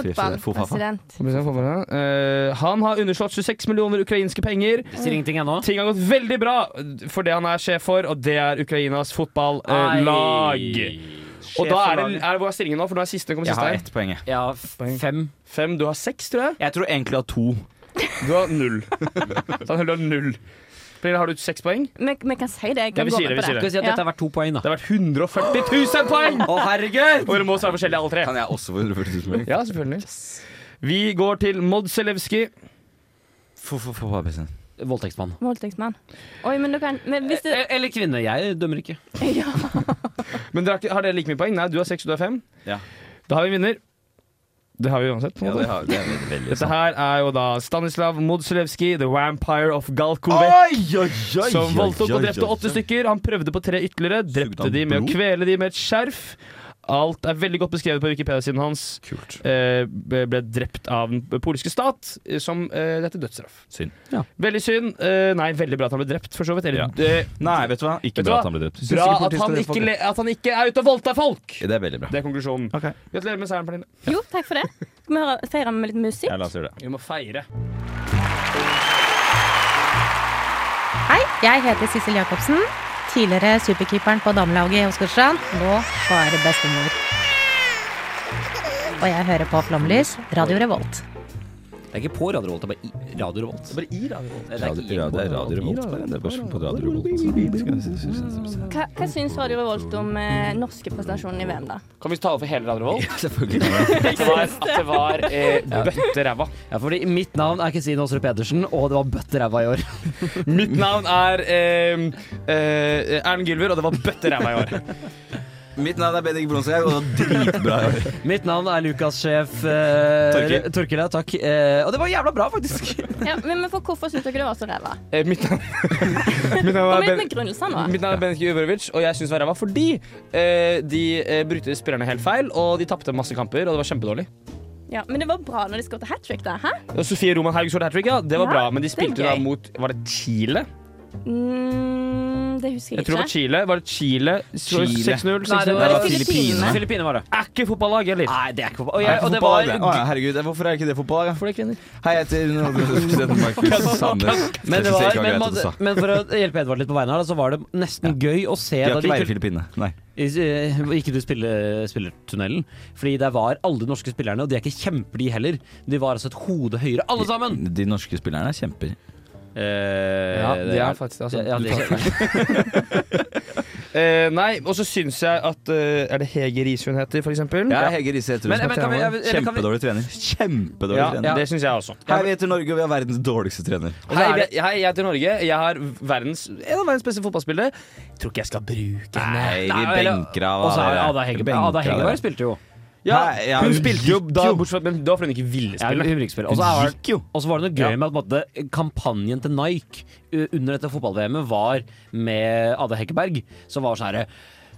[SPEAKER 3] Fotballpresident.
[SPEAKER 5] Eh, han har underslått 26 millioner ukrainske penger.
[SPEAKER 4] sier ingenting ennå.
[SPEAKER 5] Ting har gått veldig bra for det han er sjef for, og det er Ukrainas
[SPEAKER 4] Ai.
[SPEAKER 5] fotballag.
[SPEAKER 4] Sjef
[SPEAKER 5] og da
[SPEAKER 4] for
[SPEAKER 5] er det,
[SPEAKER 4] laget.
[SPEAKER 5] er, Hvor er stillingen nå? For nå er siste, kommer
[SPEAKER 6] Jeg
[SPEAKER 5] siste
[SPEAKER 6] har
[SPEAKER 5] her.
[SPEAKER 6] ett poeng, jeg.
[SPEAKER 4] Ja, fem.
[SPEAKER 5] Fem. Du har seks, tror jeg.
[SPEAKER 6] Jeg tror egentlig jeg har to.
[SPEAKER 5] Du har [LAUGHS] null. Så han holder null. Pernille, har du seks poeng?
[SPEAKER 3] Vi, vi kan si det. Jeg
[SPEAKER 5] Ja,
[SPEAKER 3] kan
[SPEAKER 5] vi
[SPEAKER 3] gå
[SPEAKER 5] sier det,
[SPEAKER 3] med på det.
[SPEAKER 5] vi sier det. Skal vi si at
[SPEAKER 3] Ja.
[SPEAKER 5] dette
[SPEAKER 4] Det har vært to poeng, da.
[SPEAKER 5] Det har vært 140 000 poeng!
[SPEAKER 4] Å, herregud!
[SPEAKER 5] Og dere må svare forskjellig, alle tre.
[SPEAKER 6] Kan jeg også få 140 000
[SPEAKER 5] Ja, selvfølgelig. Vi går til Mod Selewski.
[SPEAKER 6] Fotballpresident.
[SPEAKER 4] Voldtektsmann.
[SPEAKER 3] Voldtektsmann. Oi, men du kan men hvis det,
[SPEAKER 5] Eh,
[SPEAKER 4] Eh, Eller kvinne. Jeg dømmer ikke.
[SPEAKER 5] Men dere har, ikke- har dere like mye poeng? Nei, du har seks, du har fem.
[SPEAKER 6] Ja.
[SPEAKER 5] Da har vi en vinner. Det har vi uansett. på en
[SPEAKER 6] Ja,
[SPEAKER 5] måte.
[SPEAKER 6] det har- det er veldig- veldig
[SPEAKER 5] Dette her er jo da Stanislav Modzelewski, the vampire of Galkovec.
[SPEAKER 6] Oi, oi, oi,
[SPEAKER 5] Som voldtok og
[SPEAKER 6] oi,
[SPEAKER 5] drepte
[SPEAKER 6] oi,
[SPEAKER 5] åtte stykker. Han prøvde på tre ytterligere. Drepte
[SPEAKER 6] han
[SPEAKER 5] de med å
[SPEAKER 6] blod?
[SPEAKER 5] kvele de med et skjerf. Alt er veldig godt beskrevet på Wikipedia-siden hans. Eh, ble ble drept av den polske stat, eh, som eh, dette dødsstraff.
[SPEAKER 6] Synd.
[SPEAKER 5] Veldig synd. Eh, nei, veldig bra at han ble drept, for så vidt. Eller, eh,
[SPEAKER 6] Nei, vet du hva? Ikke
[SPEAKER 5] vet du
[SPEAKER 6] bra
[SPEAKER 5] hva?
[SPEAKER 6] at han ble drept. Syns
[SPEAKER 5] Bra
[SPEAKER 6] ikke
[SPEAKER 5] at han,
[SPEAKER 6] politiet skal drepe
[SPEAKER 5] ikke,
[SPEAKER 6] folk.
[SPEAKER 5] le- at han ikke er ute og voldtar folk!
[SPEAKER 6] Det er veldig bra.
[SPEAKER 5] Det er konklusjonen. Gratulerer med seieren, Pernille.
[SPEAKER 3] Jo, takk for det. Skal vi høre- feire med litt musikk?
[SPEAKER 6] Ja, la oss gjøre det.
[SPEAKER 5] Vi må feire.
[SPEAKER 16] Hei, jeg heter Sissel Jacobsen. Tidligere superkeeperen på damelaget i Åsgårdstrand. Nå bare bestemor. Og jeg hører på Flomlys, Radio Revolt.
[SPEAKER 4] Det er ikke på Radio Revolt, det er bare i Radio Revolt. Det er bare i Radio Revolt.
[SPEAKER 6] Radio, ja, det er Radio Revolt. bare. Det er bare på Radio altså. Revolt.
[SPEAKER 3] Hva, hva syns Radio Revolt om eh, norske prestasjonen i VM, da?
[SPEAKER 5] Kan vi tale for hele Radio Revolt? Ja,
[SPEAKER 6] selvfølgelig.
[SPEAKER 5] At [LAUGHS] det var, at det var eh,
[SPEAKER 4] Ja.
[SPEAKER 5] bøtteræva.
[SPEAKER 4] Ja, fordi mitt navn er Kristine Aasrud Pedersen, og det var bøtteræva i år. [LAUGHS]
[SPEAKER 5] Mitt navn er eh, eh, Erlend Gylver, og det var bøtteræva i år.
[SPEAKER 6] Mitt navn er Bendik Bronshaug, og det var dritbra i år.
[SPEAKER 4] Mitt navn er Lukas-sjef eh,
[SPEAKER 6] Torkil.
[SPEAKER 4] Torkil. ja, Takk. Eh, og det var jævla bra, faktisk.
[SPEAKER 3] Ja, men men for Hvorfor syns dere det var så ræva?
[SPEAKER 5] [LAUGHS] Eh, mitt navn, [LAUGHS] mitt navn
[SPEAKER 3] Kom
[SPEAKER 5] er
[SPEAKER 3] hit
[SPEAKER 5] Ben-
[SPEAKER 3] med begrunnelsen nå.
[SPEAKER 5] Mitt navn er Bendik Juvorovic, og jeg syns det var ræva fordi eh, de eh, brukte spillerne helt feil, og de tapte masse kamper, og det var kjempedårlig.
[SPEAKER 3] Ja, men det var bra når de skåret hat trick, da. Hæ?
[SPEAKER 5] Og Sofie Roman Haug skåret hat trick, ja. Det var
[SPEAKER 3] Ja,
[SPEAKER 5] bra, men de
[SPEAKER 3] det er
[SPEAKER 5] spilte da
[SPEAKER 3] gøy.
[SPEAKER 5] mot Var det Chile?
[SPEAKER 3] Mm, det husker jeg,
[SPEAKER 5] Jeg tror det var
[SPEAKER 3] ikke.
[SPEAKER 5] Chile. Var det Chile? Så
[SPEAKER 4] Chile.
[SPEAKER 5] 6-0?
[SPEAKER 4] Nei,
[SPEAKER 5] 6-0.
[SPEAKER 4] det var Filippinene. [LAUGHS] Filippinene var det.
[SPEAKER 5] Er ikke fotballag, eller?
[SPEAKER 4] Nei, det er ikke fotballag. Og,
[SPEAKER 6] Er
[SPEAKER 4] jeg,
[SPEAKER 6] ikke
[SPEAKER 4] og det
[SPEAKER 6] fotballag,
[SPEAKER 4] var
[SPEAKER 6] det? Å, ja, herregud, hvorfor er ikke det fotballag? da? Hei, jeg heter underholdningspresidenten [LAUGHS] Markus Sandnes.
[SPEAKER 4] Men, det
[SPEAKER 6] Jeg synes
[SPEAKER 4] var,
[SPEAKER 6] ikke
[SPEAKER 4] men,
[SPEAKER 6] greit at du
[SPEAKER 4] man,
[SPEAKER 6] sa.
[SPEAKER 4] men for å hjelpe Edvard litt på veien her, da, så var det nesten gøy å se
[SPEAKER 6] De
[SPEAKER 4] da
[SPEAKER 6] har
[SPEAKER 4] de
[SPEAKER 6] ikke vært i
[SPEAKER 4] kul-
[SPEAKER 6] Filippinene. Nei.
[SPEAKER 4] Eh, Ikke du spiller, spillertunnelen. Fordi der var alle de norske spillerne, og de er ikke kjemper, de heller. De var altså et hode høyere, alle sammen!
[SPEAKER 6] De norske spillerne er kjemper.
[SPEAKER 4] Ja,
[SPEAKER 5] det er faktisk altså,
[SPEAKER 4] Eh, ja,
[SPEAKER 5] du
[SPEAKER 4] det
[SPEAKER 5] tar Eh, nei, og så syns jeg at eh, Er det Hege Riise hun heter, for eksempel?
[SPEAKER 6] Ja, Hege Riise heter hun.
[SPEAKER 5] Men- men kan vi- ja, men- kan vi-
[SPEAKER 6] Kjempedårlig trener. Kjempedårlig
[SPEAKER 5] Ja,
[SPEAKER 6] trener.
[SPEAKER 5] det synes jeg også.
[SPEAKER 6] Hei, vi heter Norge, og vi har verdens dårligste trener.
[SPEAKER 5] Hei, vi- hei, jeg heter Norge. Jeg har verdens, en av verdens beste fotballspillere. Jeg tror ikke jeg skal bruke henne.
[SPEAKER 6] Nei, vi
[SPEAKER 5] Nei, eller-
[SPEAKER 6] benker av
[SPEAKER 4] Og så er det
[SPEAKER 6] dere.
[SPEAKER 4] Ada Hegerberg.
[SPEAKER 6] Benker
[SPEAKER 4] Ada
[SPEAKER 6] av
[SPEAKER 4] Hegerberg
[SPEAKER 6] dere.
[SPEAKER 4] [LAUGHS] spilte jo.
[SPEAKER 5] Ja,
[SPEAKER 6] Nei, ja,
[SPEAKER 5] hun
[SPEAKER 6] hun
[SPEAKER 5] spilte jo da, bortsett, men da fordi hun ikke ville
[SPEAKER 4] Ja, hun
[SPEAKER 5] spille.
[SPEAKER 4] vil ikke spille. Og så er- Og så var det noe gøy med at på en måte, kampanjen til Nike u- under dette fotball-VM-et var med Ada Hekkeberg, som var sånn herre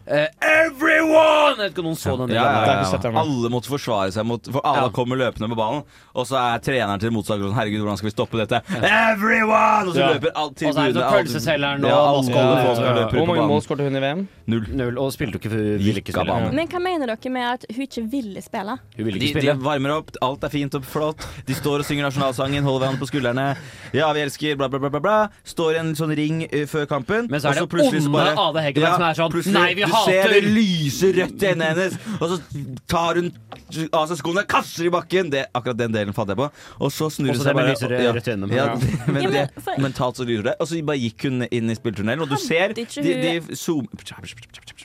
[SPEAKER 4] eh, Everyone! Jeg vet ikke om noen så den.
[SPEAKER 6] Ja, ja,
[SPEAKER 4] videoen.
[SPEAKER 6] ja, ja. Alle måtte forsvare seg mot For Ada kommer løpende på banen, og så er treneren til motstanderen sånn Herregud, hvordan skal vi stoppe dette? Everyone! Og så
[SPEAKER 4] Ja.
[SPEAKER 6] løper alt
[SPEAKER 4] Og så er
[SPEAKER 6] tribunen,
[SPEAKER 4] det sånn
[SPEAKER 6] alt-
[SPEAKER 4] pølseselgeren og
[SPEAKER 6] Ja, alle
[SPEAKER 4] masse-
[SPEAKER 6] skåler,
[SPEAKER 4] Ja,
[SPEAKER 6] folk
[SPEAKER 4] ja, ja.
[SPEAKER 6] løper ut
[SPEAKER 5] Hvor
[SPEAKER 6] på
[SPEAKER 5] mange mål
[SPEAKER 6] banen.
[SPEAKER 5] skåret hun i VM?
[SPEAKER 6] Null.
[SPEAKER 4] Null, og spilte jo ikke for ville ikke
[SPEAKER 6] av
[SPEAKER 4] spille.
[SPEAKER 6] banen.
[SPEAKER 3] Men hva mener dere med at hun ikke ville spille?
[SPEAKER 4] Hun ville
[SPEAKER 6] De,
[SPEAKER 4] ikke
[SPEAKER 6] de
[SPEAKER 4] spille.
[SPEAKER 6] varmer opp, alt er fint og flott. De står og synger nasjonalsangen, holder hverandre på skuldrene. Ja, vi elsker bla, bla, bla, bla, bla. Står i en sånn ring eh, før kampen.
[SPEAKER 4] Men så er
[SPEAKER 6] og
[SPEAKER 4] det onde
[SPEAKER 6] plutselig så bare-
[SPEAKER 4] Ada Hegerberg som er sånn,
[SPEAKER 6] plutselig-
[SPEAKER 4] «Nei, vi
[SPEAKER 6] du du ser det lyse rødt i øynene hennes, og så tar hun av seg skoene, kaster i bakken. Det, akkurat den delen fant jeg på. Og så snur hun
[SPEAKER 4] Også
[SPEAKER 6] seg
[SPEAKER 4] det med
[SPEAKER 6] bare
[SPEAKER 4] lyse rø-
[SPEAKER 6] ja,
[SPEAKER 4] rødt i øynene.
[SPEAKER 6] Ja,
[SPEAKER 4] Ja.
[SPEAKER 6] det, men
[SPEAKER 3] Ja, men altså-
[SPEAKER 6] det,
[SPEAKER 3] for-
[SPEAKER 6] mentalt så lyser det. Og så bare gikk hun inn i spilltunnelen, og du ser
[SPEAKER 3] Hadde
[SPEAKER 6] de,
[SPEAKER 3] ikke
[SPEAKER 6] de
[SPEAKER 3] hun-
[SPEAKER 6] zoomer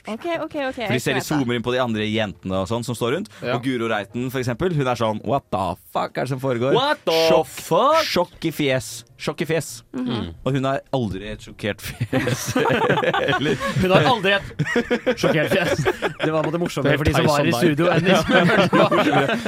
[SPEAKER 3] OK, OK. ok
[SPEAKER 6] for de ser de zoomer inn på de andre jentene og sånn som står rundt. Og Guro Reiten, for eksempel, hun er sånn What the fuck er det som foregår?
[SPEAKER 5] What the
[SPEAKER 6] sjokk, fuck? sjokk i fjes. Sjokk i fjes.
[SPEAKER 5] Mhm.
[SPEAKER 6] Og hun har aldri et sjokkert fjes. [LAUGHS]
[SPEAKER 4] Hun har aldri et sjokkert fjes. Det var på det morsommere for de som var i studio enn de som hørte på.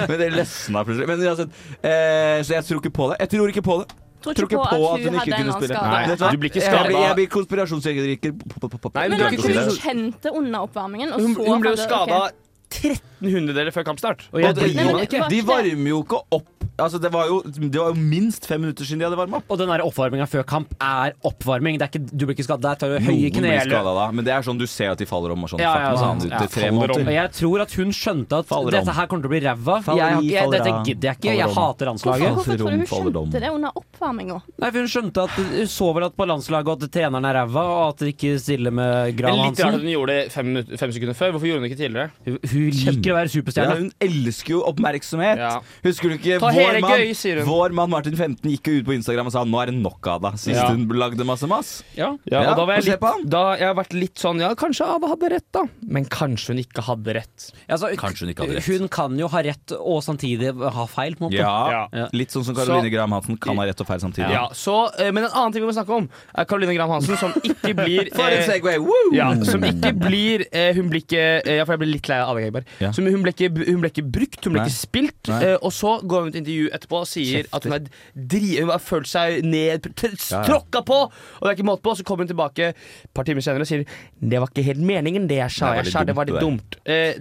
[SPEAKER 6] Men det løsna plutselig. Men uansett, eh, så jeg tror ikke på det. Jeg tror ikke på det.
[SPEAKER 3] Tror ikke på at hun hadde en annen skade. Nei,
[SPEAKER 6] Vet hva?
[SPEAKER 5] du blir ikke
[SPEAKER 6] Jeg blir,
[SPEAKER 5] skadet.
[SPEAKER 6] jeg blir konspirasjonsteoretiker.
[SPEAKER 5] Nei,
[SPEAKER 3] Men
[SPEAKER 5] du er
[SPEAKER 3] at
[SPEAKER 5] ikke
[SPEAKER 3] hun
[SPEAKER 5] konspirasjon-
[SPEAKER 3] kjente under oppvarmingen, og
[SPEAKER 5] Hun,
[SPEAKER 3] så
[SPEAKER 5] hun ble jo
[SPEAKER 3] hadde-
[SPEAKER 5] skada
[SPEAKER 3] ok.
[SPEAKER 5] 13 hundedeler før kampstart.
[SPEAKER 6] Og jeg,
[SPEAKER 5] det
[SPEAKER 6] de,
[SPEAKER 5] gir man ikke.
[SPEAKER 6] de varmer jo ikke opp. Altså, det, var jo, det var jo minst fem minutter siden de hadde varma opp.
[SPEAKER 4] Og den der oppvarminga før kamp er oppvarming. Det er ikke, du blir ikke skadet. Der tar du høye
[SPEAKER 6] Noen blir
[SPEAKER 4] kneløp.
[SPEAKER 6] skada da, men det er sånn du ser at de faller om. Og sånn,
[SPEAKER 4] Ja,
[SPEAKER 6] fuck, nå
[SPEAKER 4] ja, ja.
[SPEAKER 6] sa han ut
[SPEAKER 4] Ja,
[SPEAKER 6] i tre
[SPEAKER 4] faller om. Og
[SPEAKER 6] måneder.
[SPEAKER 4] jeg tror at hun skjønte at
[SPEAKER 6] Faller om.
[SPEAKER 4] dette her kommer til å bli ræva.
[SPEAKER 6] Faller
[SPEAKER 4] Jeg, har
[SPEAKER 6] i,
[SPEAKER 4] ikke- jeg,
[SPEAKER 6] faller
[SPEAKER 4] dette
[SPEAKER 6] av,
[SPEAKER 4] gidder jeg ikke.
[SPEAKER 6] faller
[SPEAKER 4] Jeg
[SPEAKER 6] om.
[SPEAKER 4] hater
[SPEAKER 3] Hvorfor,
[SPEAKER 4] landslaget.
[SPEAKER 3] hvorfor tror du hun
[SPEAKER 6] faller om.
[SPEAKER 3] skjønte det under oppvarminga?
[SPEAKER 4] Nei, for Hun skjønte at hun så vel at på landslaget at treneren er ræva, og at det ikke stiller med Gran
[SPEAKER 5] Men litt rart at
[SPEAKER 4] Hansen.
[SPEAKER 5] hun gjorde det fem, minutter- fem sekunder før. Hvorfor gjorde hun det ikke tidligere?
[SPEAKER 4] Hun, liker å være
[SPEAKER 6] Ja,
[SPEAKER 4] superstjerne.
[SPEAKER 6] hun elsker jo oppmerksomhet. Husker du ikke
[SPEAKER 5] Ta
[SPEAKER 6] vår
[SPEAKER 5] hele
[SPEAKER 6] mann,
[SPEAKER 5] gøy, sier hun.
[SPEAKER 6] vår mann Martin 15 gikk jo ut på Instagram og sa 'nå er det nok av deg', sist
[SPEAKER 5] Ja.
[SPEAKER 6] hun lagde masse mas?
[SPEAKER 5] Ja, og da var jeg
[SPEAKER 6] se
[SPEAKER 5] litt,
[SPEAKER 6] på han.
[SPEAKER 5] da jeg har vært litt sånn Ja, kanskje Ada hadde rett, da. Men kanskje hun ikke hadde rett.
[SPEAKER 4] Altså,
[SPEAKER 6] Kanskje hun ikke hadde rett.
[SPEAKER 4] Hun kan jo ha rett og samtidig ha feil. På en måte.
[SPEAKER 6] Ja, Litt sånn som
[SPEAKER 5] Så-
[SPEAKER 6] Caroline Graham Hansen kan ha rett og feil samtidig.
[SPEAKER 5] Ja, så, eh, men en annen ting vi må snakke om, er Caroline Graham Hansen, som ikke
[SPEAKER 6] [LAUGHS]
[SPEAKER 5] blir
[SPEAKER 6] For en
[SPEAKER 5] eh,
[SPEAKER 6] segway, woo!
[SPEAKER 5] Ja, som ikke blir eh, Hun blir ikke eh, Ja, for jeg ble litt lei av Ada Geberg.
[SPEAKER 6] Ja.
[SPEAKER 5] Så Hun, ble ikke- hun ble ikke brukt, hun ble
[SPEAKER 6] Nei.
[SPEAKER 5] ikke spilt.
[SPEAKER 6] Nei.
[SPEAKER 5] eh, og så går hun til intervju etterpå og sier at hun, er dri, hun har følt seg ned t-
[SPEAKER 6] Ja, ja.
[SPEAKER 5] tråkka på! Og det er ikke måte på. Så kommer hun tilbake et par timer senere og sier det var ikke helt meningen, det jeg sa.
[SPEAKER 6] Det var
[SPEAKER 5] jeg
[SPEAKER 6] litt
[SPEAKER 5] sa, det
[SPEAKER 6] dumt,
[SPEAKER 5] var litt
[SPEAKER 6] det der."
[SPEAKER 5] dumt.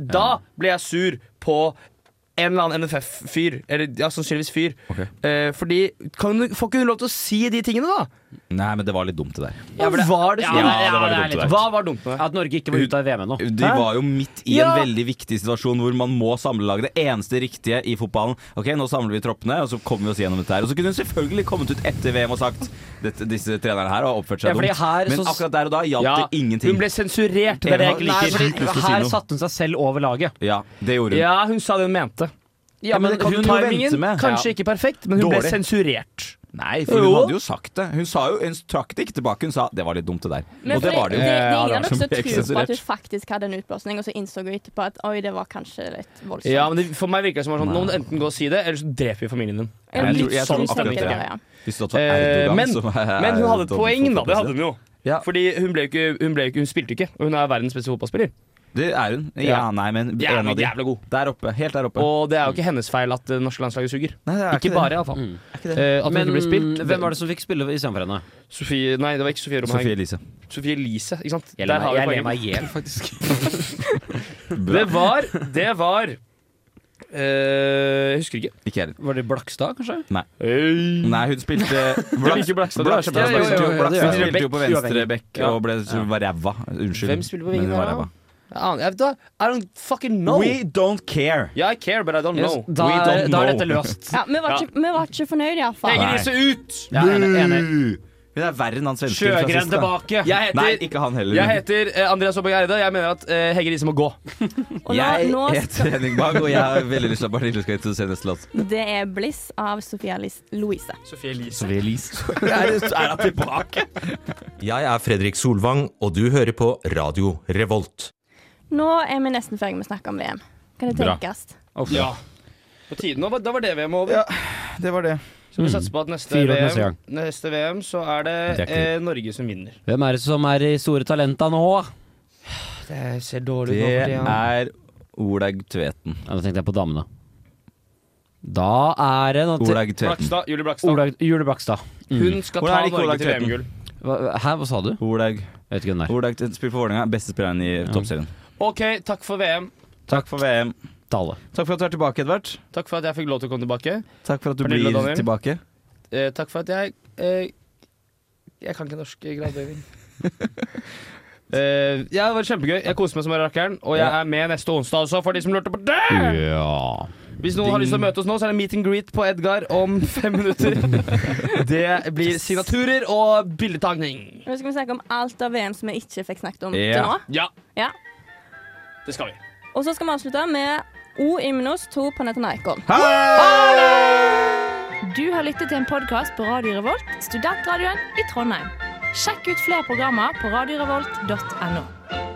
[SPEAKER 5] Eh, da ble jeg sur på en eller annen NFF-fyr. Eller ja, sannsynligvis fyr. Eh, fordi kan, du- Får ikke hun lov til å si de tingene, da?
[SPEAKER 6] Nei, men det var litt dumt, det der.
[SPEAKER 5] Ja, var det
[SPEAKER 4] Ja,
[SPEAKER 5] så
[SPEAKER 4] det-
[SPEAKER 5] dumt?
[SPEAKER 4] ja, det var
[SPEAKER 5] det er
[SPEAKER 4] dumt,
[SPEAKER 5] litt-
[SPEAKER 4] det.
[SPEAKER 5] Hva var dumt med det?
[SPEAKER 4] At Norge ikke var ute av VM ennå.
[SPEAKER 6] De var jo midt i
[SPEAKER 5] Ja.
[SPEAKER 6] en veldig viktig situasjon hvor man må samle laget. Det eneste riktige i fotballen. Ok, nå samler vi troppene, og så kommer vi oss gjennom dette her. Og så kunne hun selvfølgelig kommet ut etter VM og sagt dette, disse trenerne her har oppført seg
[SPEAKER 4] Ja, fordi
[SPEAKER 6] dumt.
[SPEAKER 4] her
[SPEAKER 6] Men
[SPEAKER 4] så-
[SPEAKER 6] akkurat der og da hjalp
[SPEAKER 5] Ja,
[SPEAKER 6] det ingenting.
[SPEAKER 5] Ah, Hun ble sensurert. Det er det jeg ikke
[SPEAKER 6] Nei,
[SPEAKER 5] liker.
[SPEAKER 6] fordi Sykt å si her
[SPEAKER 4] Her
[SPEAKER 6] noe.
[SPEAKER 4] satte hun seg selv over laget.
[SPEAKER 6] Ja, det gjorde hun.
[SPEAKER 5] Ja, hun sa det hun mente.
[SPEAKER 4] Ja, men det kan
[SPEAKER 6] du jo
[SPEAKER 5] timingen,
[SPEAKER 6] vente med.
[SPEAKER 5] Kanskje
[SPEAKER 6] Ja.
[SPEAKER 5] ikke perfekt, men hun
[SPEAKER 6] Dårlig.
[SPEAKER 5] ble sensurert.
[SPEAKER 6] Nei, for hun
[SPEAKER 5] Jo.
[SPEAKER 6] hadde jo sagt det. Hun, sa jo, hun trakk det ikke tilbake. Hun sa 'det var litt dumt, det der'.
[SPEAKER 3] Men
[SPEAKER 6] og det
[SPEAKER 3] fordi
[SPEAKER 6] var det jo.
[SPEAKER 3] Det, det er ingen av
[SPEAKER 6] Som
[SPEAKER 3] dere som
[SPEAKER 6] ble
[SPEAKER 3] tror på at
[SPEAKER 6] sensurert.
[SPEAKER 3] hun faktisk hadde en utblåsning, og så innså hun etterpå at oi, det var kanskje litt voldsomt.
[SPEAKER 5] Ja, men det, For meg virker det som var sånn, nå må du enten gå og si det, eller så dreper vi familien din.
[SPEAKER 3] Jeg tror- jeg
[SPEAKER 5] Litt
[SPEAKER 3] tror
[SPEAKER 5] sånn
[SPEAKER 3] akkurat
[SPEAKER 5] stemning.
[SPEAKER 3] det, ja.
[SPEAKER 6] Hvis det hadde vært
[SPEAKER 5] Eh,
[SPEAKER 6] Erdogan,
[SPEAKER 5] men,
[SPEAKER 6] som er-
[SPEAKER 5] men hun hadde et
[SPEAKER 6] dom-
[SPEAKER 5] poeng, da. Det hadde hun jo.
[SPEAKER 6] Ja.
[SPEAKER 5] Fordi hun, ble jo ikke, hun, ble jo ikke, hun spilte jo ikke, og hun er verdens beste fotballspiller.
[SPEAKER 6] Det er hun. Ja,
[SPEAKER 5] Ja.
[SPEAKER 6] nei, men en
[SPEAKER 5] Jævla-
[SPEAKER 6] av de.
[SPEAKER 5] jævla god.
[SPEAKER 6] Der oppe. Helt der oppe.
[SPEAKER 5] Og det er jo ikke hennes feil at det norske landslaget suger.
[SPEAKER 6] Nei, det er
[SPEAKER 5] ikke
[SPEAKER 6] ikke det.
[SPEAKER 5] bare, iallfall.
[SPEAKER 4] Mm.
[SPEAKER 6] ikke det.
[SPEAKER 5] Eh, at hun
[SPEAKER 4] Men
[SPEAKER 5] ikke ble spilt.
[SPEAKER 4] hvem var det som fikk spille istedenfor henne?
[SPEAKER 5] Sofie, nei, det var ikke Sofie Romhaug.
[SPEAKER 6] Sofie Elise.
[SPEAKER 5] Sofie Elise, ikke sant?
[SPEAKER 4] Jeg
[SPEAKER 5] Der
[SPEAKER 4] ler meg-
[SPEAKER 5] har vi
[SPEAKER 4] jeg ler
[SPEAKER 5] poenget.
[SPEAKER 4] meg i hjel, faktisk.
[SPEAKER 5] Det var Det var eh, Jeg husker ikke.
[SPEAKER 6] Ikke jeg heller.
[SPEAKER 4] Var det Blakstad, kanskje?
[SPEAKER 6] Nei.
[SPEAKER 5] Hey.
[SPEAKER 6] Nei, hun [LAUGHS] spilte Blaks-
[SPEAKER 5] liker Blakstad, du er så
[SPEAKER 6] Blakstad
[SPEAKER 5] bra. Ja, ja,
[SPEAKER 6] spilte jo-
[SPEAKER 5] ja, ja,
[SPEAKER 6] Blakstad
[SPEAKER 5] det gjør
[SPEAKER 6] spilte jo
[SPEAKER 5] jeg.
[SPEAKER 6] på venstre
[SPEAKER 5] Uavhengig.
[SPEAKER 6] bekk
[SPEAKER 5] Ja.
[SPEAKER 6] og ble, så var ræva. Unnskyld.
[SPEAKER 5] Hvem spiller på
[SPEAKER 6] men
[SPEAKER 5] vingen
[SPEAKER 6] hun var
[SPEAKER 5] der, da?
[SPEAKER 6] ræva.
[SPEAKER 5] Jeg aner- jeg vet da- I don't fucking know.
[SPEAKER 6] We don't care.
[SPEAKER 5] Yeah, I care, but I don't know.
[SPEAKER 4] Yes, da
[SPEAKER 5] We
[SPEAKER 4] er-
[SPEAKER 5] don't
[SPEAKER 4] da
[SPEAKER 5] know.
[SPEAKER 4] er dette løst.
[SPEAKER 3] Ja, vi, var ikke, vi var ikke fornøyd, iallfall.
[SPEAKER 5] Hege Riise ut!
[SPEAKER 4] Ja, enig, ener.
[SPEAKER 6] Hun er verre enn han svensken fra
[SPEAKER 4] Sjøgren
[SPEAKER 6] sist, da.
[SPEAKER 4] tilbake.
[SPEAKER 5] Jeg heter,
[SPEAKER 6] Nei, ikke han heller.
[SPEAKER 5] jeg heter eh, Andreas Aabak Eide. Jeg mener at eh, Hegge Riise må gå.
[SPEAKER 3] Og nå,
[SPEAKER 6] Jeg
[SPEAKER 3] nå [LAUGHS]
[SPEAKER 6] heter Henning Bang, og jeg har veldig lyst til at Pernille skal introdusere neste låt.
[SPEAKER 3] Det er 'Bliss' av Sophia Lis- Louise.
[SPEAKER 5] Sofie Elise.
[SPEAKER 6] Sofie Elise. Er det- er hun tilbake?
[SPEAKER 14] Jeg er Fredrik Solvang, og du hører på Radio Revolt.
[SPEAKER 3] Nå er vi nesten ferdig med å snakke om VM. Kan det
[SPEAKER 14] Bra.
[SPEAKER 3] tenkes?
[SPEAKER 5] Ja. På tiden, nå var- Da var det VM over.
[SPEAKER 6] Det var det.
[SPEAKER 5] Så vi
[SPEAKER 4] Mm.
[SPEAKER 5] satser på at neste
[SPEAKER 4] Fire år
[SPEAKER 5] VM,
[SPEAKER 4] neste gang.
[SPEAKER 5] neste VM så er det,
[SPEAKER 4] Det er
[SPEAKER 5] eh,
[SPEAKER 4] ikke-
[SPEAKER 5] Norge som vinner.
[SPEAKER 4] [LAUGHS] Hvem er det som er i store talenta nå?
[SPEAKER 5] Det ser dårlig ut. nå for
[SPEAKER 6] Det
[SPEAKER 5] tiden.
[SPEAKER 6] er Olaug Tveten.
[SPEAKER 4] Ja, Da tenkte jeg på damene. Da er det noe til-
[SPEAKER 6] Olaug Tveten.
[SPEAKER 5] Blakstad, Julie Blakstad.
[SPEAKER 4] Olaug Jule Blakstad.
[SPEAKER 5] Hun skal
[SPEAKER 6] Hvordan er
[SPEAKER 5] ta
[SPEAKER 6] det ikke
[SPEAKER 5] Norge
[SPEAKER 6] Olaug
[SPEAKER 5] til
[SPEAKER 6] Tveten?
[SPEAKER 5] VM-gull.
[SPEAKER 4] Hva- Hæ, hva sa du?
[SPEAKER 6] Olaug.
[SPEAKER 4] Jeg vet ikke hvem det er.
[SPEAKER 6] Olaug Tveten spiller for Vålerenga. Beste spilleren i toppserien.
[SPEAKER 5] OK, takk for VM.
[SPEAKER 6] Takk for VM.
[SPEAKER 4] Dale.
[SPEAKER 6] Takk for at du er tilbake, Edvard.
[SPEAKER 5] Takk for at jeg fikk lov til å komme tilbake.
[SPEAKER 6] Takk for at du
[SPEAKER 5] Pernille og
[SPEAKER 6] blir
[SPEAKER 5] Daniel.
[SPEAKER 6] tilbake.
[SPEAKER 5] Eh, takk for at jeg eh, Jeg kan ikke norsk gradering. [LAUGHS] Eh, ja, det var kjempegøy. Jeg koser meg som bare rakkeren. Og jeg er med neste onsdag også, for de som lurte på det!
[SPEAKER 4] Ja
[SPEAKER 5] Hvis noen har lyst til å møte oss nå, så er det meet and greet på Edgar om fem [LAUGHS] minutter. Det blir signaturer og bildetagning.
[SPEAKER 3] Nå skal vi snakke om alt av VM som vi ikke fikk snakket om
[SPEAKER 5] Ja.
[SPEAKER 3] til nå.
[SPEAKER 5] Ja.
[SPEAKER 3] Ja.
[SPEAKER 17] Det skal vi.
[SPEAKER 18] Og så skal vi avslutte med O Imnos 2 på Netanaikon.
[SPEAKER 3] Du har lyttet til en podkast på Radio Revolt, studentradioen i Trondheim. Sjekk ut flere programmer på radiorevolt.no.